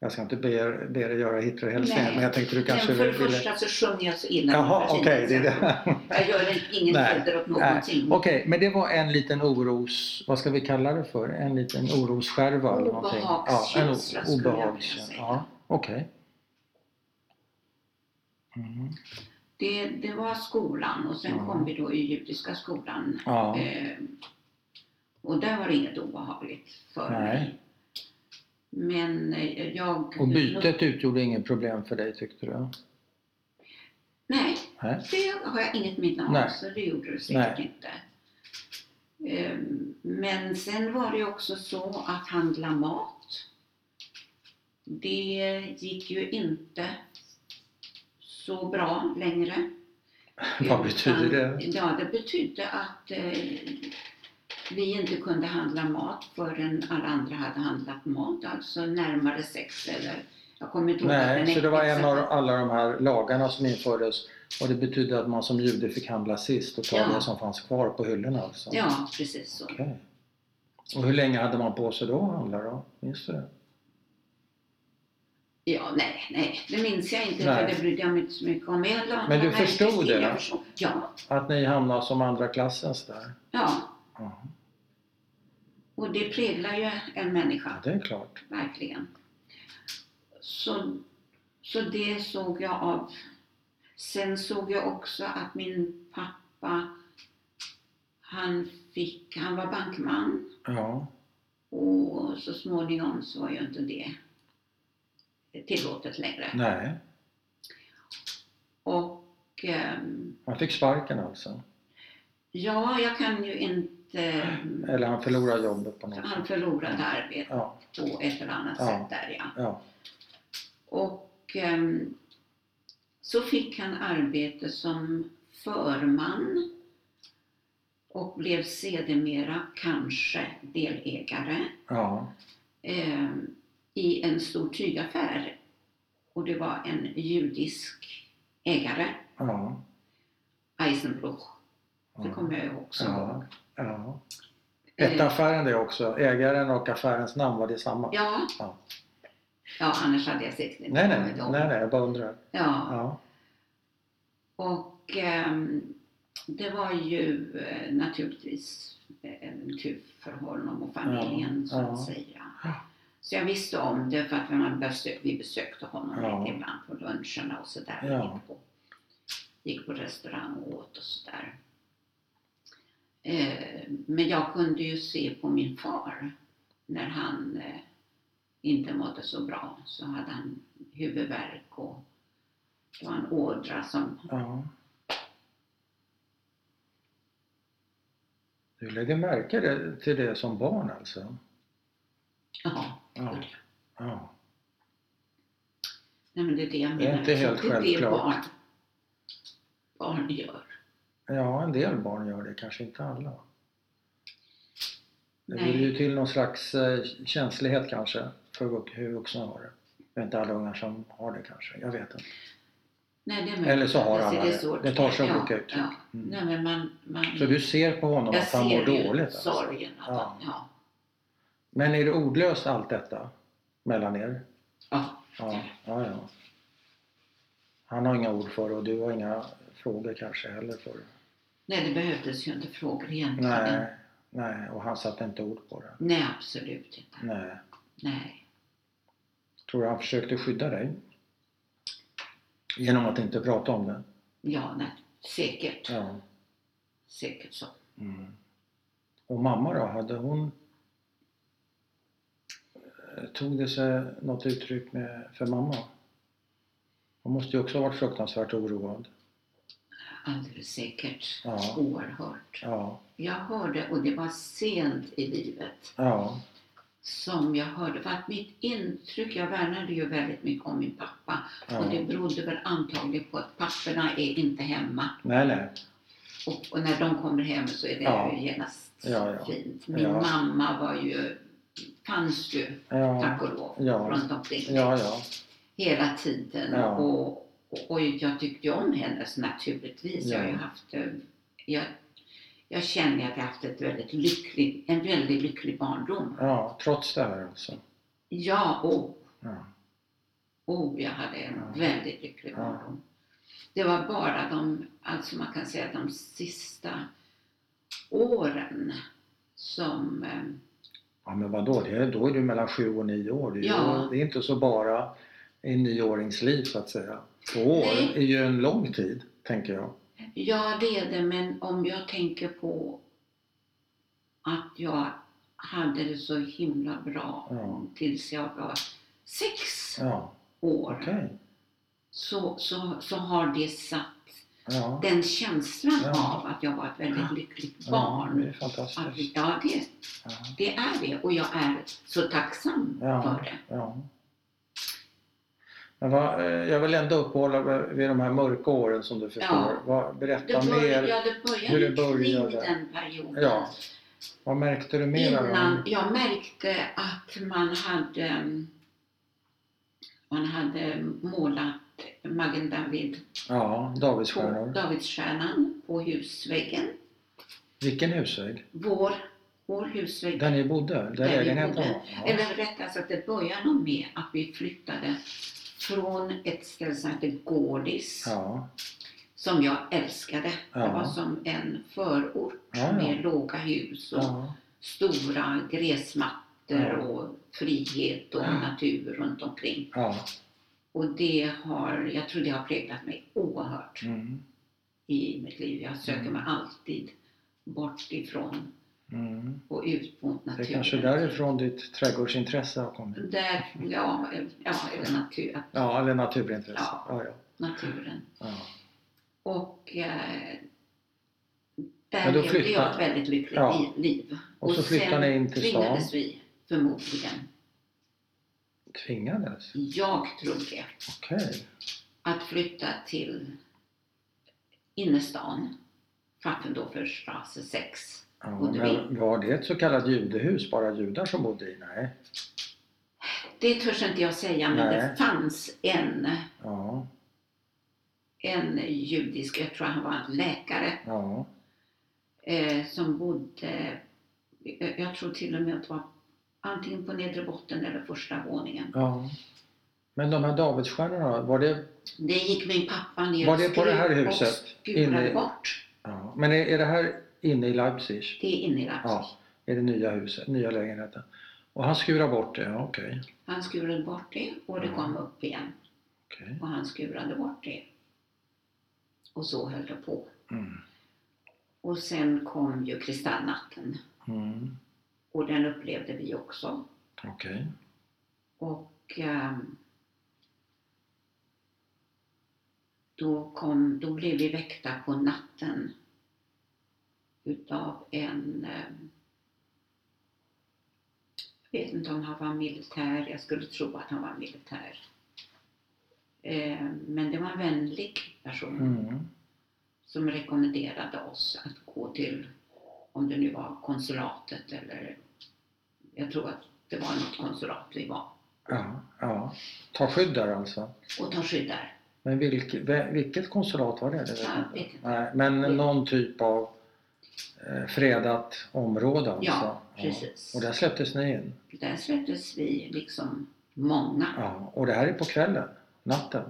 S1: Jag ska inte be er, be er göra Hitler Hellsten,
S2: Nej.
S1: men jag tänkte du kanske
S2: Men för det
S1: ville...
S2: första så sjunger jag så illa.
S1: Jaha,
S2: för
S1: okej, det är det.
S2: Jag gör ingen
S1: Nej.
S2: ålder åt
S1: Nej.
S2: någonting.
S1: Okej, men det var en liten oros... Vad ska vi kalla det för? En liten orosskärva eller någonting?
S2: Obehagskänsla
S1: Ja, en o-
S2: skulle jag vilja
S1: obehagskänsla.
S2: säga.
S1: Ja, okej. Mm.
S2: Det, det var skolan och sen
S1: Ja.
S2: kom vi då i judiska skolan.
S1: Ja,
S2: Eh, och där var det inget obehagligt för
S1: Nej.
S2: mig. Men eh, jag...
S1: och bytet utgjorde inget problem för dig tyckte du?
S2: Nej,
S1: Nej.
S2: det har jag inget minne av,
S1: Nej.
S2: så det gjorde det säkert
S1: Nej.
S2: inte. Eh, Men sen var det ju också så att handla mat, det gick ju inte så bra längre.
S1: Vad betyder
S2: Utan-
S1: det?
S2: Ja, det betydde att eh, vi inte kunde handla mat förrän alla andra hade handlat mat, alltså närmare sex eller jag kommer inte ihåg vad den
S1: Nej, så det var en
S2: exakta-
S1: av alla de här lagarna som infördes och det betydde att man som jude fick handla sist och ta
S2: Ja.
S1: det som fanns kvar på hyllorna alltså?
S2: Ja, precis så.
S1: Okej. Och hur länge hade man på sig då att handla då? Minns du det?
S2: Ja, nej, nej, det minns jag inte
S1: Nej.
S2: för det brydde jag mig inte så mycket om. Men, jag la-
S1: Men du
S2: jag märkte
S1: förstod det,
S2: till, jag
S1: va?
S2: förstod- Ja,
S1: Att ni hamnade som andra klassens där?
S2: ja.
S1: Ja,
S2: Och det präglar ju en människa,
S1: det är klart.
S2: verkligen. Så, så det såg jag av. Sen såg jag också att min pappa, han, fick, han var bankman
S1: Ja,
S2: och så småningom så var ju inte det tillåtet längre.
S1: nej.
S2: Och ehm,
S1: Han fick sparken alltså?
S2: ja, jag kan ju inte eh,
S1: Eller han förlorade jobbet på något
S2: Han
S1: sätt?
S2: förlorade arbetet
S1: Ja,
S2: på ett eller annat
S1: Ja.
S2: sätt där ja.
S1: ja.
S2: Och ehm, så fick han arbete som förman och blev sedermera kanske delägare
S1: ja.
S2: ehm, i en stor tygaffär. Och det var en judisk ägare,
S1: ja.
S2: Eisenbruch. Det
S1: ja.
S2: kommer jag ihåg också. Eh,
S1: Ja. ja. Hette affären det också? Ägaren och affärens namn, var det samma?
S2: Ja.
S1: Ja.
S2: Ja, annars hade jag säkert inte
S1: Nej, nej,
S2: kommit
S1: nej,
S2: ihåg.
S1: nej, jag bara undrar.
S2: Ja.
S1: Ja.
S2: Och ehm, det var ju eh, naturligtvis en kul för honom och familjen
S1: Ja,
S2: så att
S1: ja.
S2: säga.
S1: Ja.
S2: Så jag visste om det för att man besö- vi besökte honom
S1: Ja.
S2: lite ibland på luncherna och sådär.
S1: Ja.
S2: Gick, på, gick på restaurang och åt och sådär. Eh, men jag kunde ju se på min far när han eh, inte mådde så bra så hade han huvudvärk och det var en ådra som
S1: ja. Du lägger märke det- till det som barn alltså?
S2: Ja,
S1: Ja. ja.
S2: nej men det är det jag menar.
S1: Det är inte helt
S2: det är det
S1: självklart.
S2: Barn, barn gör.
S1: Ja, en del barn gör det, kanske inte alla. Det vill
S2: Nej,
S1: ju till någon slags eh, känslighet kanske för vux- hur vuxna har det. Det är inte alla ungar som har det kanske, jag vet inte.
S2: nej, det är
S1: Eller så har
S2: möjligt.
S1: alla
S2: Alltså, Det är
S1: det.
S2: svårt.
S1: Det tar sig
S2: ja,
S1: olika uttryck.
S2: Ja.
S1: Mm.
S2: Nej, men man, man,
S1: Så du ser på honom
S2: jag
S1: att han
S2: ser
S1: mår
S2: ju
S1: dåligt? Alltså.
S2: sorgen. Att
S1: Ja.
S2: ja. Ja.
S1: Men är det ordlöst allt detta mellan er?
S2: Ja.
S1: Ja, ja, ja. Han har inga ord för det och du har inga frågor kanske heller för det.
S2: Nej, det behövdes ju inte frågor egentligen.
S1: Nej, nej, och han satte inte ord på det.
S2: Nej, absolut inte.
S1: Nej.
S2: Nej.
S1: Tror du han försökte skydda dig? Genom att inte prata om det?
S2: Ja, nej. Säkert.
S1: Ja.
S2: Säkert så.
S1: Mm. Och mamma då, hade hon... eh, Tog det sig något uttryck med, för mamma? Hon måste ju också ha varit fruktansvärt oroad.
S2: Alldeles säkert.
S1: Ja.
S2: Oerhört.
S1: Ja,
S2: Jag hörde, och det var sent i livet,
S1: ja,
S2: som jag hörde. För att mitt intryck, jag värnade ju väldigt mycket om min pappa. Och det
S1: ja.
S2: berodde väl antagligen på att papporna är inte hemma.
S1: Nej, nej.
S2: Och, och när de kommer hem så är det
S1: Ja.
S2: ju genast
S1: Ja, ja.
S2: fint. Min
S1: Ja.
S2: mamma var ju, fanns ju,
S1: Ja,
S2: tack och lov,
S1: Ja.
S2: runt omkring
S1: ja, ja.
S2: hela tiden.
S1: Ja.
S2: Och, och, och jag tyckte ju om henne så naturligtvis. Jag har ju
S1: Ja.
S2: haft, eh, jag, Jag känner att jag haft ett väldigt lycklig, en väldigt lycklig barndom.
S1: Ja, trots det här också.
S2: Ja, oh,
S1: Ja.
S2: oh jag hade en
S1: Ja.
S2: väldigt lycklig
S1: Ja.
S2: barndom. Det var bara de, alltså man kan säga de sista åren som eh,
S1: Ja men vadå, det är, då är du mellan sju och nio år. Det är,
S2: Ja.
S1: det är inte så bara i nioårings liv så att säga. Två år
S2: Nej.
S1: är ju en lång tid, tänker jag.
S2: Ja, det är det, men om jag tänker på att jag hade det så himla bra
S1: Ja.
S2: tills jag var sex
S1: Ja,
S2: år
S1: okej.
S2: så, så, så har det satt
S1: Ja.
S2: den känslan
S1: Ja.
S2: av att jag var ett väldigt lyckligt
S1: ja, det
S2: barn.
S1: är
S2: Att,
S1: fantastiskt.
S2: ja, det,
S1: Ja.
S2: det är det och jag är så tacksam
S1: Ja.
S2: för det.
S1: Ja. Men vad, eh, jag vill ändå uppehålla mig vid de här mörka åren som du förstår.
S2: Ja.
S1: Vad, berätta
S2: Det
S1: mer.
S2: började,
S1: hur det
S2: det började
S1: började.
S2: kring den perioden.
S1: Ja. Vad märkte du mer av
S2: Innan
S1: dem?
S2: jag märkte att man hade, man hade målat Magen David
S1: Ja,
S2: på
S1: Davidsstjärnor.
S2: Davidsstjärnan på husväggen.
S1: Vilken husvägg?
S2: Vår, vår husvägg.
S1: Där ni bodde? Där,
S2: Där vi
S1: lägenheten
S2: bodde.
S1: var? Ja.
S2: Eller rättare sagt, det började nog med att vi flyttade från ett ställe som hette Gårdis,
S1: Ja.
S2: som jag älskade. Det
S1: Ja.
S2: var som en förort
S1: Ja, ja.
S2: med låga hus och
S1: Ja.
S2: stora gräsmattor
S1: Ja.
S2: och frihet och
S1: Ja.
S2: natur runt omkring.
S1: ja.
S2: Och det har, jag tror det har präglat mig oerhört
S1: Mm.
S2: i mitt liv. Jag söker
S1: Mm.
S2: mig alltid bort ifrån
S1: Mm.
S2: och ut mot
S1: Det
S2: naturen.
S1: är kanske därifrån ditt trädgårdsintresse har kommit?
S2: Där, ja, ja eller natur,
S1: Ja, eller naturintresse.
S2: Ja.
S1: Ja, ja.
S2: naturen.
S1: Ja.
S2: Och eh,
S1: Men
S2: där
S1: då
S2: levde
S1: flyttade-
S2: jag ett väldigt lyckligt
S1: Ja.
S2: li- liv.
S1: Och så flyttade
S2: sen
S1: ni in till stan.
S2: tvingades vi förmodligen,
S1: Tvingades?
S2: jag tror det,
S1: Okej.
S2: att flytta till innerstan, Pfaffendorfer strasse 6.
S1: Ja,
S2: Och det
S1: men var det ett så kallat judehus, bara judar som bodde i? Nej.
S2: Det törs inte jag säga, men
S1: Nej.
S2: det fanns en,
S1: Ja,
S2: en judisk, jag tror han var en läkare,
S1: ja,
S2: eh, som bodde, eh, jag tror till och med att det var antingen på nedre botten eller första våningen.
S1: ja. Men de här Davidsstjärnorna, var det...
S2: Det gick min pappa ner
S1: Var det på
S2: och
S1: det här
S2: skrev
S1: huset?
S2: och skurade
S1: Inne-
S2: bort.
S1: Ja. Men är, är det här inne i Leipzig?
S2: Det är inne i Leipzig.
S1: Ja, i det nya huset, nya lägenheten. Och han skurar bort det, ja okej.
S2: Han skurade bort det och det
S1: Ja.
S2: kom upp igen.
S1: okej.
S2: Och han skurade bort det. Och så höll det på.
S1: Mm.
S2: Och sen kom ju kristallnatten.
S1: Mm.
S2: Och den upplevde vi också.
S1: Okej.
S2: Och ehm, då, kom, då blev vi väckta på natten utav en ehm, jag vet inte om han var militär, jag skulle tro att han var militär. Ehm, Men det var en vänlig person
S1: Mm.
S2: som rekommenderade oss att gå till, om det nu var konsulatet eller, jag tror att det var något konsulat vi var
S1: Ja, ja. Ta skydd där alltså.
S2: och tar skydd där.
S1: Men vilk, vä- vilket konsulat var det? det vet
S2: Ja,
S1: jag inte.
S2: vet inte.
S1: Nej, men
S2: Det-
S1: någon typ av eh, fredat område alltså?
S2: Ja, precis.
S1: Och där släpptes ni in?
S2: Där släpptes vi liksom många.
S1: Ja, och det här är på kvällen? Natten?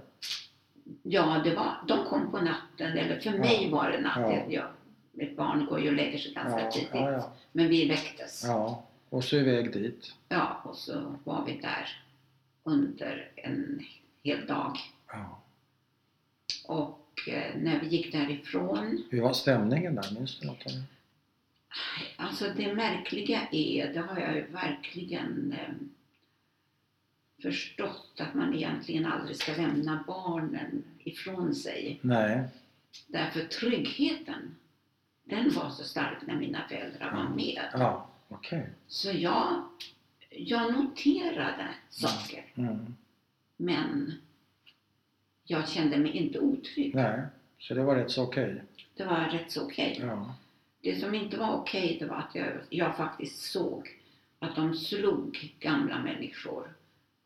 S2: Ja, det var, de kom på natten, eller för mig var det natten. Ja. Ett barn går ju och lägger sig ganska
S1: ja, typ
S2: tidigt.
S1: ja,
S2: Men vi väcktes. Ja.
S1: ja. Och så iväg dit?
S2: och så var vi där under en hel dag.
S1: Ja.
S2: Och eh, när vi gick därifrån,
S1: Hur var stämningen där? Minns du något om det?
S2: alltså det märkliga är, det har jag ju verkligen eh, förstått, att man egentligen aldrig ska lämna barnen ifrån sig.
S1: Nej.
S2: Därför tryggheten, den var så stark när mina föräldrar
S1: Mm.
S2: var med.
S1: Ja, okej.
S2: Så jag, jag noterade saker,
S1: Mm.
S2: men jag kände mig inte otrygg.
S1: Nej, så det var rätt så okej.
S2: Det var rätt så okej.
S1: Ja.
S2: Det som inte var okej, det var att jag, jag faktiskt såg att de slog gamla människor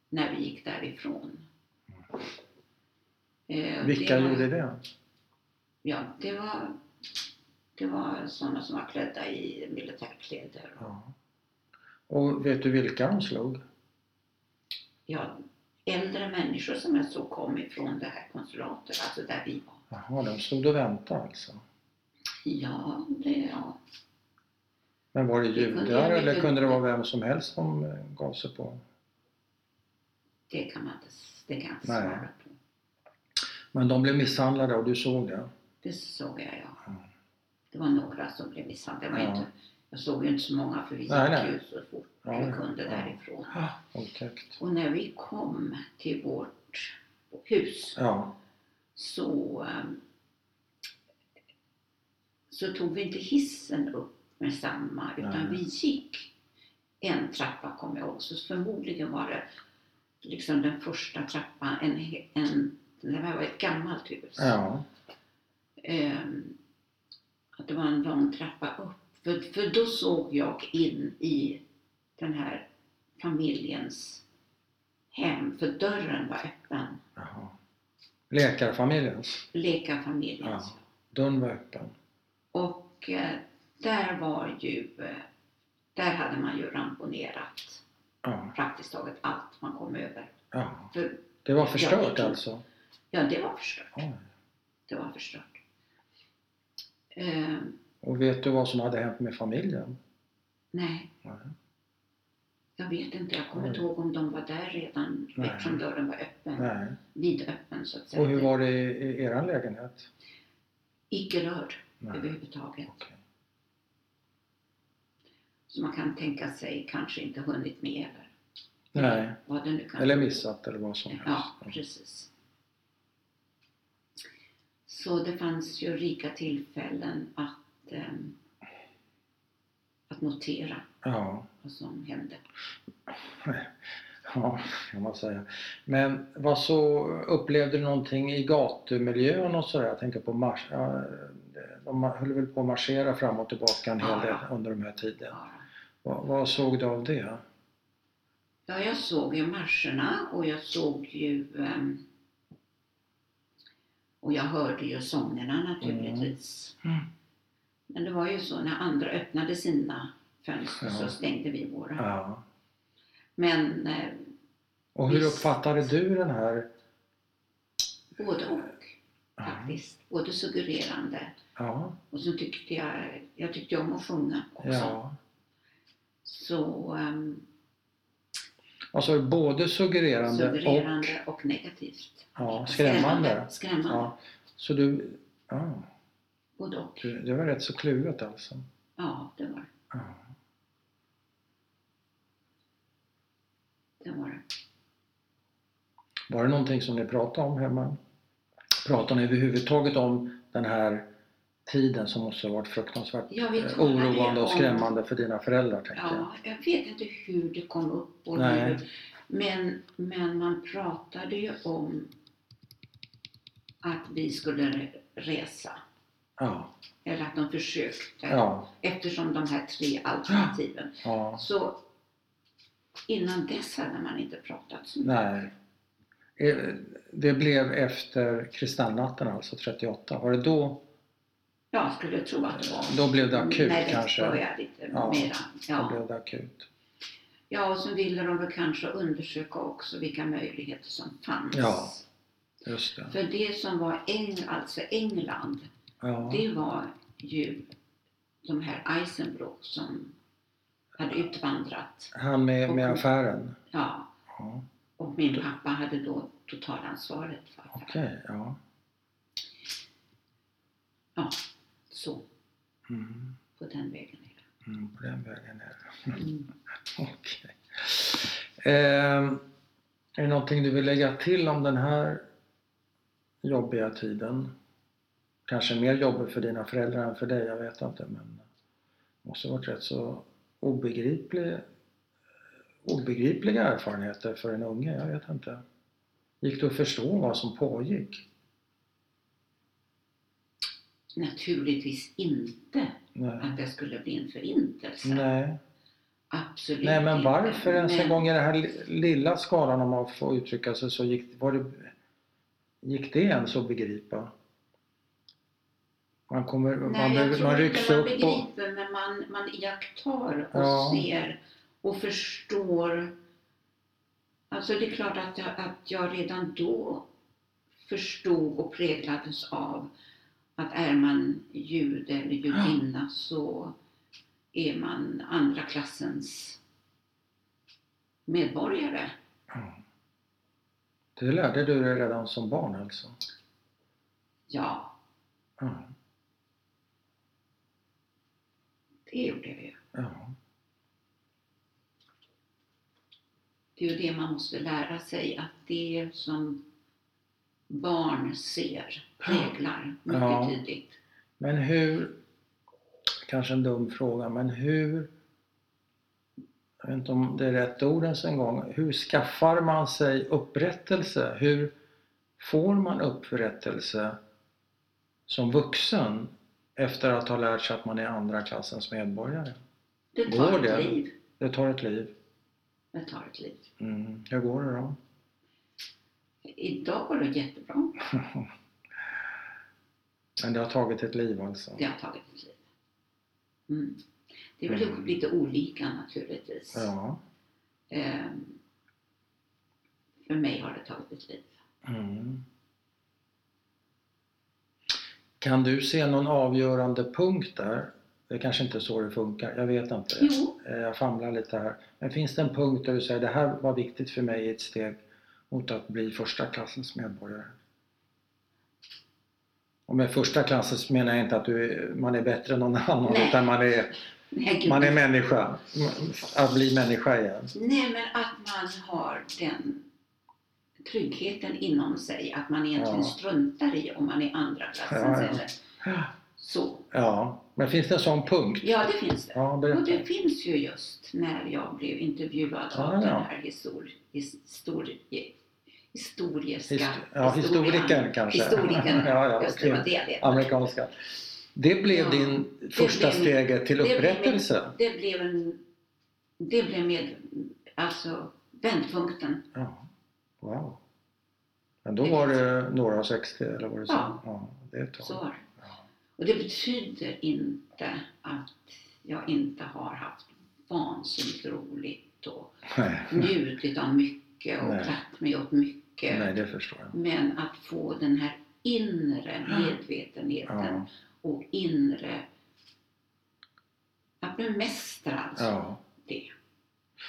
S2: när vi gick därifrån. Eh,
S1: Vilka
S2: var,
S1: gjorde det?
S2: Ja, det var Det var sådana som var klädda i militärkläder.
S1: Ja. Och vet du vilka de slog?
S2: Ja, äldre människor som jag såg kom ifrån det här konsulatet, alltså där vi var.
S1: Jaha, de stod och väntade alltså.
S2: Ja, det, ja.
S1: Men var det
S2: Det kunde
S1: judar
S2: jag
S1: eller
S2: inte-
S1: kunde det vara vem som helst som eh, gav sig på?
S2: det kan man inte, det kan jag inte
S1: Nej.
S2: svara på.
S1: Men de blev misshandlade och du såg det?
S2: Det såg jag, ja.
S1: Mm.
S2: Det var några som blev misshandlade. Det var
S1: Ja.
S2: inte, jag såg ju inte så många för vi gick
S1: Nej, nej.
S2: ju så fort
S1: Ja,
S2: vi
S1: ja.
S2: kunde
S1: Ja.
S2: därifrån.
S1: Ah, Otäckt.
S2: Och när vi kom till vårt hus
S1: Ja,
S2: så, ehm, så tog vi inte hissen upp med samma utan
S1: Nej.
S2: vi gick en trappa kommer jag ihåg. Så förmodligen var det liksom den första trappan. En, he- en, det här var ett gammalt hus.
S1: ja,
S2: Ehm, att det var en lång trappa upp. För, för då såg jag in i den här familjens hem. För dörren var öppen.
S1: jaha. Läkarfamiljens,
S2: Lekarfamiljens.
S1: Ja. dörren var öppen.
S2: Och eh, där var ju, eh, där hade man ju ramponerat
S1: Ja,
S2: praktiskt taget allt man kom över.
S1: ja.
S2: För,
S1: Det var
S2: Ja,
S1: förstört
S2: det-
S1: alltså?
S2: ja, det var förstört.
S1: Oj.
S2: Det var förstört. Ehm,
S1: Och vet du vad som hade hänt med familjen?
S2: nej,
S1: Nej.
S2: jag vet inte. Jag kommer
S1: Oj.
S2: inte ihåg om de var där redan
S1: Nej.
S2: eftersom dörren var öppen.
S1: Nej.
S2: Vidöppen så att säga.
S1: Och hur var det i, i eran lägenhet?
S2: Icke rörd
S1: Nej.
S2: överhuvudtaget.
S1: Okej.
S2: Så man kan tänka sig kanske inte hunnit med över.
S1: Nej.
S2: Vad det nu kan
S1: Eller missat eller vad som helst.
S2: Ja, precis. Så det fanns ju rika tillfällen att, ehm, att notera
S1: ja.
S2: vad som hände.
S1: Ja, kan man säga. Men vad så upplevde du någonting i gatumiljön och sådär? Jag tänker på mars... ja, De höll väl på att marschera fram och tillbaka en hel
S2: Ja.
S1: del under den här tiden.
S2: bara.
S1: Vad, vad såg du av det?
S2: Ja, jag såg ju marscherna och jag såg ju ehm, och jag hörde ju sångerna naturligtvis.
S1: Mm.
S2: Men det var ju så när andra öppnade sina fönster så
S1: Ja.
S2: stängde vi våra.
S1: Ja.
S2: Men eh,
S1: Och hur
S2: Visst.
S1: uppfattade du den här...
S2: både och faktiskt. Både suggererande
S1: Ja,
S2: Och så tyckte jag, jag tyckte om att sjunga också.
S1: ja.
S2: Så ehm,
S1: Alltså både suggererande, och
S2: suggererande och, negativt.
S1: ja, skrämmande.
S2: Skrämmande.
S1: Ja. Så du... Ja,
S2: Både och.
S1: du- det var rätt så kluvet alltså.
S2: Ja, det var
S1: Ja.
S2: det. Var det.
S1: Var det någonting som ni pratade om hemma? Pratade ni överhuvudtaget om den här tiden som måste ha varit fruktansvärt
S2: Ja, vi
S1: eh,
S2: talade
S1: oroande och
S2: om-
S1: skrämmande för dina föräldrar? Tänkte jag.
S2: Ja, jag vet inte hur det kom upp och
S1: Nej.
S2: hur. Men, men man pratade ju om att vi skulle resa.
S1: Ja,
S2: Eller att de försökte.
S1: ja,
S2: Eftersom de här tre alternativen.
S1: ja.
S2: Så innan dess hade man inte pratat så mycket.
S1: Nej. Eh, Det blev efter kristallnatten, alltså 38. Var det då?
S2: Jag skulle tro att det var.
S1: Då blev det akut
S2: När det
S1: kanske.
S2: började lite
S1: Ja.
S2: mera.
S1: Då
S2: Ja.
S1: blev det akut.
S2: ja, och så ville de väl kanske undersöka också vilka möjligheter som fanns.
S1: Ja. Just det.
S2: För det som var Eng, alltså England,
S1: Ja,
S2: det var ju de här Eisenbrock som hade utvandrat.
S1: han med, med affären.
S2: Ja,
S1: Ja,
S2: och min pappa hade då totalansvaret för affären.
S1: Okej, ja.
S2: Ja, så
S1: Mm.
S2: på den vägen. är det.
S1: Mm, på den vägen är det.
S2: Mm.
S1: Okej. Ehm, är det någonting du vill lägga till om den här jobbiga tiden? Kanske mer jobbig för dina föräldrar än för dig, jag vet inte. Men det måste ha varit rätt så obegriplig, obegripliga erfarenheter för en unge, jag vet inte. Gick du att förstå vad som pågick?
S2: Naturligtvis inte
S1: Nej.
S2: att det skulle bli en förintelse.
S1: Nej.
S2: Absolut
S1: Nej, men
S2: inte.
S1: varför ens en
S2: Men-
S1: gång i den här li- lilla skalan om man får uttrycka sig så gick, var det, gick det ens att begripa? Man, kommer, man,
S2: Nej, jag
S1: behöver- man
S2: tror
S1: rycks
S2: inte man
S1: upp och...
S2: begriper men man, man iakttar och
S1: Ja.
S2: ser och förstår. Alltså det är klart att jag, att jag redan då förstod och präglades av att är man jude eller judinna så är man andra klassens medborgare.
S1: Mm. Det lärde du dig redan som barn alltså? Mm.
S2: Ja,
S1: Ja.
S2: det gjorde jag ju.
S1: ja.
S2: Det är ju det man måste lära sig, att det som barn ser präglar mycket
S1: Ja.
S2: tidigt.
S1: Men hur... Kanske en dum fråga, men hur... Jag vet inte om det är rätt ord ens en gång. Hur skaffar man sig upprättelse? Hur får man upprättelse som vuxen efter att ha lärt sig att man är andra klassens medborgare?
S2: Det
S1: Går
S2: tar
S1: det?
S2: ett liv.
S1: Det tar ett liv.
S2: Det tar ett liv.
S1: Mm. Hur går det då?
S2: Idag går det jättebra.
S1: Men det har tagit ett liv alltså?
S2: Det har tagit ett liv. Mm. Det är väl
S1: Mm.
S2: lite olika naturligtvis.
S1: Ja.
S2: Ehm, för mig har det tagit ett liv.
S1: Mm. Kan du se någon avgörande punkt där? Det kanske inte är så det funkar, jag vet inte.
S2: Jo,
S1: Eh, Jag famlar lite här. Men finns det en punkt där du säger det här var viktigt för mig i ett steg mot att bli första klassens medborgare? Och med första klassens menar jag inte att du, är- man är bättre än någon annan
S2: Nej.
S1: utan man är,
S2: nej, gud,
S1: man är människa. Att bli människa igen.
S2: Nej, men att man har den tryggheten inom sig, att man egentligen
S1: Ja.
S2: struntar i om man är andra klassens
S1: Ja, ja.
S2: eller så.
S1: Ja, men finns det en sån punkt?
S2: Ja, det finns det.
S1: Ja,
S2: Och
S1: berätta.
S2: det finns ju just när jag blev intervjuad av
S1: Ja, ja.
S2: den här histor, histor, historiska
S1: Histo- ja,
S2: historian.
S1: historikern kanske.
S2: Historikern,
S1: Ja, ja,
S2: just det,
S1: okej.
S2: var det jag letade.
S1: Amerikanska. Det blev
S2: Ja,
S1: din första
S2: blev-
S1: steget till
S2: det blev-
S1: upprättelse.
S2: Det blev en, det blev med, alltså vändpunkten.
S1: Ja. Wow. Men då
S2: Det
S1: var
S2: finns-
S1: det några och 60 eller vad du sa?
S2: Ja.
S1: ja det är ett tag.
S2: Så var det.
S1: Ja.
S2: Och det betyder inte att jag inte har haft vansinnigt roligt och
S1: Nej.
S2: njutit av mycket och
S1: Nej.
S2: glatt mig åt mycket.
S1: Nej, det förstår jag.
S2: Men att få den här inre medvetenheten
S1: Ja,
S2: och inre... Att bemästra alltså
S1: ja.
S2: det.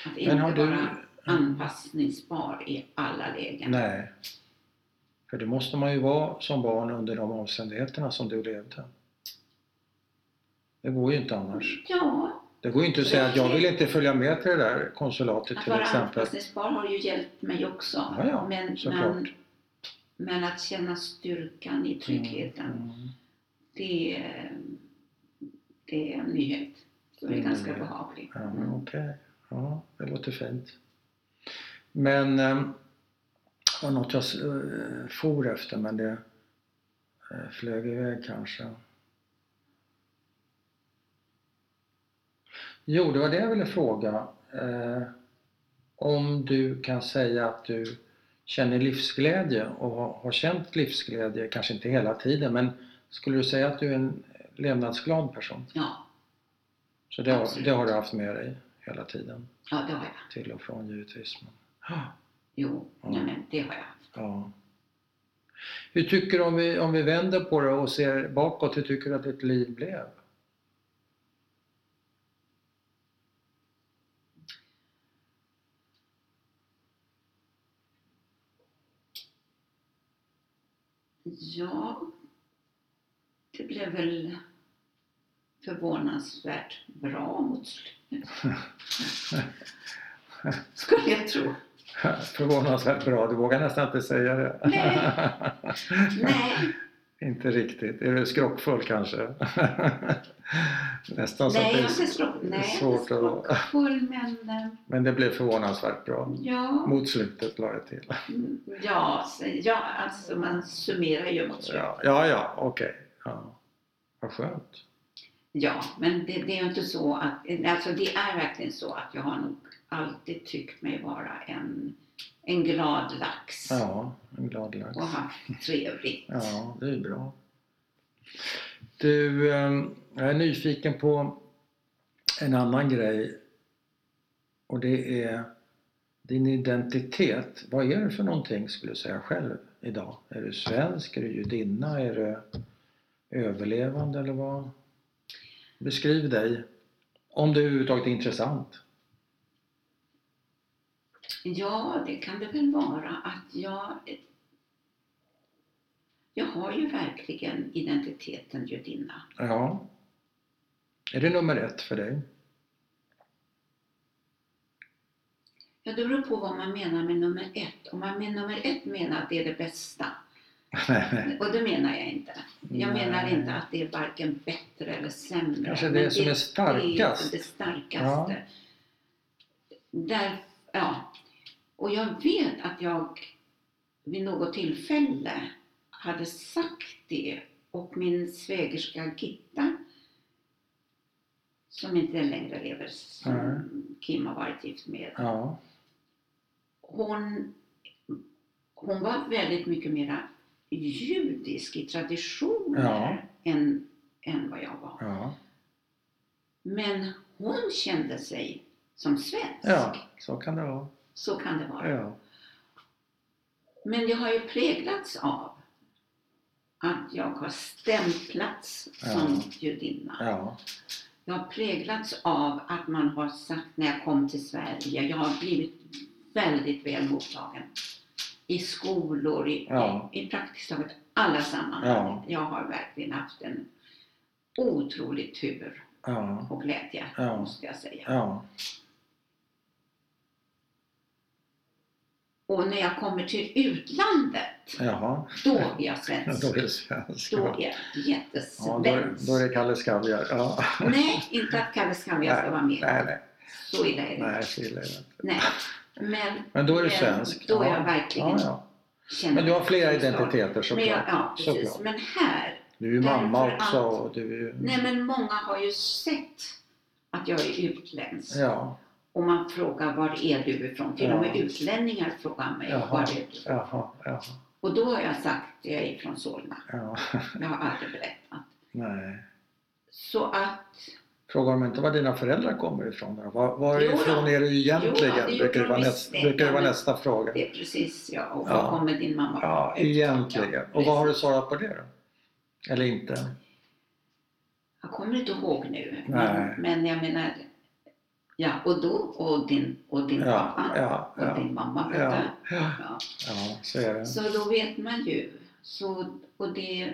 S2: Att inte
S1: Men har du...
S2: vara anpassningsbar i alla lägen.
S1: Nej. För det måste man ju vara som barn under de omständigheterna som du levde. Det går ju inte annars.
S2: Ja,
S1: Det går ju inte att säga att jag vill inte följa med till det där konsulatet
S2: Mm. att
S1: till
S2: vara
S1: exempel.
S2: anpassningsbar har ju hjälpt mig också.
S1: Ja, ja,
S2: men,
S1: såklart.
S2: men, men att känna styrkan i tryggheten,
S1: Mm.
S2: Det, är- det är en nyhet. Så det är
S1: Mm.
S2: ganska behagligt.
S1: Ja, men okej. Ja, det låter fint. Men eh, var något jag eh, for efter men det eh, flög iväg kanske. Jo, det var det jag ville fråga. Eh, om du kan säga att du känner livsglädje och har, har känt livsglädje, kanske inte hela tiden, men skulle du säga att du är en levnadsglad person?
S2: Ja,
S1: Så det har,
S2: Absolut.
S1: det har du haft med dig hela tiden,
S2: ja, det har jag.
S1: till och från givetvis. Men, Ah,
S2: Jo,
S1: Ja.
S2: nej, men det har jag.
S1: ja. Hur tycker du om vi, om vi vänder på det och ser bakåt, hur tycker du att ditt liv blev?
S2: Ja, det blev väl förvånansvärt bra mot slutet. Skulle jag tro.
S1: Förvånansvärt bra, du vågar nästan inte säga det.
S2: Nej,
S1: inte riktigt, är du skrockfull kanske? nästan så
S2: nej,
S1: att
S2: jag
S1: Alltså, det
S2: är inte
S1: är
S2: skrock- nej, jag är inte
S1: svårt att...
S2: skrockfull, men eh,
S1: Men det blev förvånansvärt bra.
S2: ja,
S1: Mot slutet la jag till.
S2: mm, ja, så- ja, alltså man summerar ju mot slutet.
S1: Ja, ja, ja okej. Ja. Vad skönt.
S2: Ja, men det, det är ju inte så att, alltså det är verkligen så att jag har nog alltid tyckt mig vara en, en glad lax
S1: Ja, en glad lax.
S2: och haft trevligt.
S1: Ja, det är bra. Du, eh, jag är nyfiken på en annan grej. Och det är din identitet. Vad är du för någonting skulle du säga själv idag? Är du svensk? Är du judinna? Är du överlevande eller vad? Beskriv dig. Om det överhuvudtaget är intressant.
S2: Ja, det kan det väl vara att jag... Jag har ju verkligen identiteten judinna.
S1: Ja. Är det nummer ett för dig?
S2: Ja, det beror på vad man menar med nummer ett. Om man med nummer ett menar att det är det bästa, och det menar jag inte. Jag
S1: Nej.
S2: menar inte att det är varken bättre eller sämre.
S1: Kanske
S2: men
S1: det som är starkast.
S2: Det är det starkaste. Där, ja. Och jag vet att jag vid något tillfälle hade sagt det och min svägerska Gitta som inte längre lever, som
S1: Nej.
S2: Kim har varit gift med
S1: Ja.
S2: hon, hon var väldigt mycket mer judisk i traditioner
S1: Ja.
S2: än, än vad jag var.
S1: Ja.
S2: Men hon kände sig som svensk.
S1: ja, så kan det vara.
S2: Så kan det vara.
S1: Ja.
S2: Men jag har ju präglats av att jag har stämplats
S1: Ja.
S2: som judinna.
S1: Ja.
S2: Jag har präglats av att man har sagt när jag kom till Sverige, jag har blivit väldigt väl mottagen. I skolor, i,
S1: Ja.
S2: i, i praktiskt taget alla sammanhang.
S1: Ja.
S2: Jag har verkligen haft en otrolig tur
S1: Ja.
S2: och glädje,
S1: Ja.
S2: måste jag säga.
S1: Ja.
S2: Och när jag kommer till utlandet,
S1: Jaha.
S2: då är jag
S1: Ja,
S2: svensk.
S1: Då är det svensk.
S2: Då
S1: Ja,
S2: är jag
S1: då är,
S2: jättesvensk.
S1: då är det Kalle Skallier. Ja.
S2: Nej, inte att Kalle Skandia ska vara med.
S1: Nej, nej.
S2: Så illa är det
S1: Nej, så illa är det inte.
S2: Nej. Men
S1: Men då är du
S2: Men
S1: svensk.
S2: då är
S1: Ja.
S2: jag verkligen
S1: Ja, ja.
S2: känner
S1: Men du har
S2: mig
S1: flera
S2: som svensk.
S1: identiteter
S2: Men jag,
S1: såklart.
S2: ja, precis.
S1: Såklart.
S2: Men här,
S1: Du är ju mamma
S2: Därför att-
S1: också och du är ju...
S2: nej men många har ju sett att jag är utländsk.
S1: Ja,
S2: Och man frågar var är du ifrån? Till och med
S1: Ja.
S2: utlänningar frågar mig
S1: Jaha.
S2: var är du
S1: jaha, jaha.
S2: Och då har jag sagt jag är från Solna.
S1: Ja.
S2: Jag har aldrig berättat.
S1: Nej.
S2: Så att,
S1: Frågar de inte var dina föräldrar kommer ifrån? då? Var,
S2: Jo då.
S1: varifrån är du egentligen?
S2: Jo då, det gjorde
S1: brukar,
S2: de
S1: det vara
S2: visst
S1: nästa,
S2: det.
S1: brukar det vara
S2: Men-
S1: nästa fråga.
S2: det är precis jag. Och
S1: Ja.
S2: var kommer din mamma
S1: Ja, egentligen. Och vad har du svarat på det då? Eller inte?
S2: Jag kommer inte ihåg nu.
S1: Nej.
S2: Men, men jag menar, ja och då och din, och din
S1: Ja,
S2: pappa
S1: ja,
S2: och
S1: ja.
S2: din mamma.
S1: Ja,
S2: bodde.
S1: ja,
S2: Ja.
S1: ja, så är det.
S2: Så då vet man ju. Så, och det,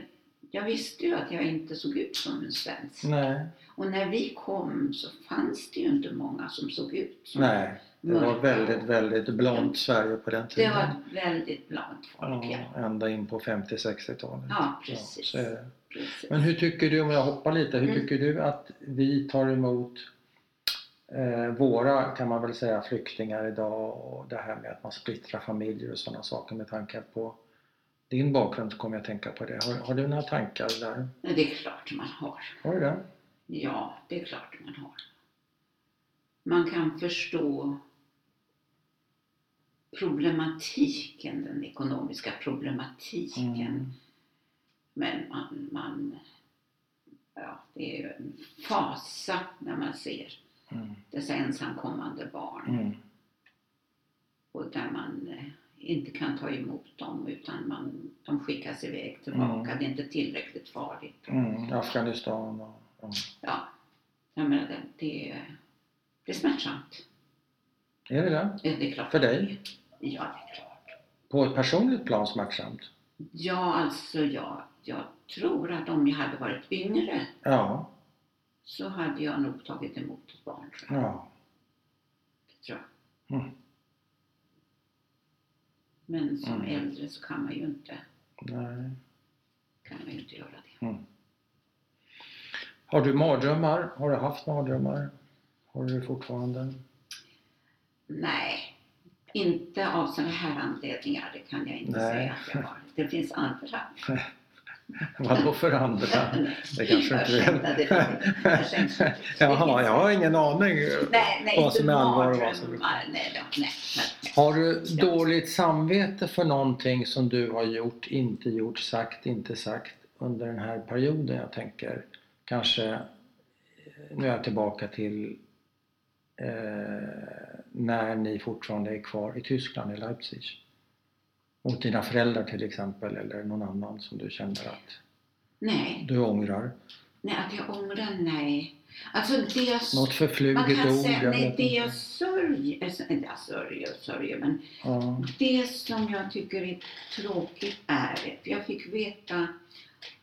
S2: jag visste ju att jag inte såg ut som en svensk.
S1: Nej,
S2: Och när vi kom så fanns det ju inte många som såg ut som
S1: nej. Det
S2: mörka.
S1: var väldigt, väldigt blont Sverige på den
S2: Det
S1: tiden.
S2: var ett väldigt blant folk, ja.
S1: Ja, ända in på 50-60-talet.
S2: Ja,
S1: Ja,
S2: precis.
S1: så är det.
S2: precis.
S1: Men hur tycker du, om jag hoppar lite, hur
S2: Mm.
S1: tycker du att vi tar emot eh, våra, kan man väl säga, flyktingar idag och det här med att man splittrar familjer och sådana saker med tanke på din bakgrund så kommer jag att tänka på det. Har, har du några tankar där?
S2: Men det är klart man har.
S1: Har du det?
S2: Ja, det är klart man har. Man kan förstå problematiken, den ekonomiska problematiken.
S1: Mm.
S2: Men man, man ja, det är ju en fasa när man ser
S1: Mm.
S2: dessa ensamkommande barn
S1: Mm.
S2: och där man eh, inte kan ta emot dem utan man, de skickas iväg tillbaka. Det är inte tillräckligt farligt.
S1: Mm. Afghanistan och... och-
S2: Ja, jag menar det, det, är- det är smärtsamt.
S1: Är det det?
S2: Ja, Det är klart.
S1: För dig?
S2: Ja, det är klart.
S1: På ett personligt plan smärtsamt?
S2: Ja, alltså jag, jag tror att om jag hade varit yngre
S1: Ja.
S2: så hade jag nog tagit emot ett barn. Tror jag.
S1: ja.
S2: tror jag.
S1: Mm.
S2: Men som
S1: Mm.
S2: äldre så kan man ju inte,
S1: Nej.
S2: kan man ju inte göra det.
S1: Har du mardrömmar? Har du haft mardrömmar? Har du det fortfarande?
S2: Nej, inte av sådana här anledningar. Det kan jag inte
S1: Nej.
S2: säga att jag har. Det finns andra.
S1: Vadå för andra? Det kanske inte
S2: Jag skämtade lite. Jag skämtade.
S1: Jaha, jag har ingen aning.
S2: Nej, nej,
S1: Vad
S2: inte
S1: som är allvar och vad som-
S2: mardrömmar. Nej, då, nej, nej.
S1: Har du dåligt samvete för någonting som du har gjort, inte gjort, sagt, inte sagt under den här perioden. Jag tänker kanske, eh, nu är jag tillbaka till eh, när ni fortfarande är kvar i Tyskland, i Leipzig. Mot dina föräldrar till exempel eller någon annan som du känner att
S2: Nej,
S1: du ångrar.
S2: nej att jag ångrar, nej. Alltså det jag,
S1: Något
S2: man
S1: förfluget
S2: kan
S1: ord.
S2: säga,
S1: jag
S2: nej,
S1: vet
S2: det
S1: inte.
S2: jag sörjer, alltså, inte jag sörjer och sörjer, men
S1: Ja,
S2: Det som jag tycker är tråkigt är, för jag fick veta,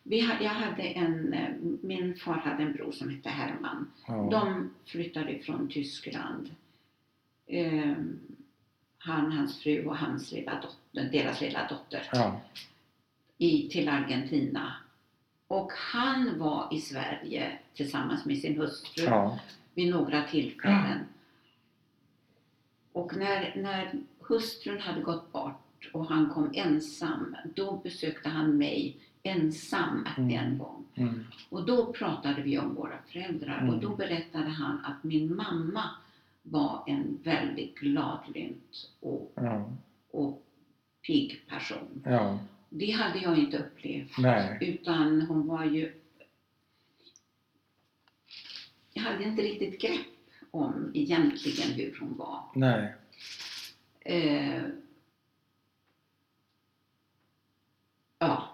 S2: vi, ha- jag hade en, eh, min far hade en bror som hette Herman.
S1: ja.
S2: De flyttade från Tyskland. Ehm, han, hans fru och hans lilla dotter, deras lilla dotter
S1: Ja,
S2: i, till Argentina. Och han var i Sverige tillsammans med sin hustru
S1: ja,
S2: vid några tillfällen. Och när, när hustrun hade gått bort och han kom ensam, då besökte han mig ensam
S1: Mm.
S2: en gång.
S1: mm,
S2: Och då pratade vi om våra föräldrar
S1: Mm.
S2: och då berättade han att min mamma var en väldigt gladlynt och,
S1: ja,
S2: och pigg person.
S1: ja,
S2: Det hade jag inte upplevt.
S1: nej,
S2: Utan hon var ju... Jag hade inte riktigt grepp om egentligen hur hon var.
S1: nej,
S2: Eh, ja,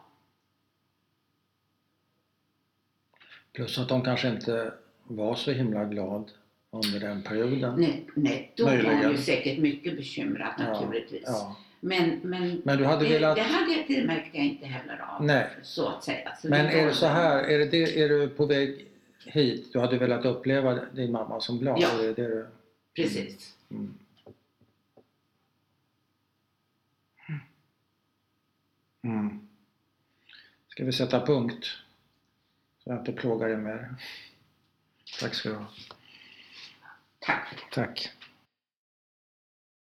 S1: plus att de kanske inte var så himla glad under den perioden.
S2: nej, nej, då var hon ju
S1: Möjligen.
S2: säkert mycket bekymrad
S1: Ja,
S2: naturligtvis.
S1: Ja.
S2: Men, men
S1: Men du hade
S2: det,
S1: velat...
S2: det, hade, det märkte jag inte heller av.
S1: Nej.
S2: Så att säga. Så
S1: Men
S2: var-
S1: är det så här, är, det det, är du på väg hit? Du hade velat uppleva din mamma som glad?
S2: Ja.
S1: Är det det du...
S2: Precis.
S1: Mm. Mm. Ska vi sätta punkt? Så jag inte plågar dig mer. Tack ska du ha.
S2: Tack för det.
S1: Tack.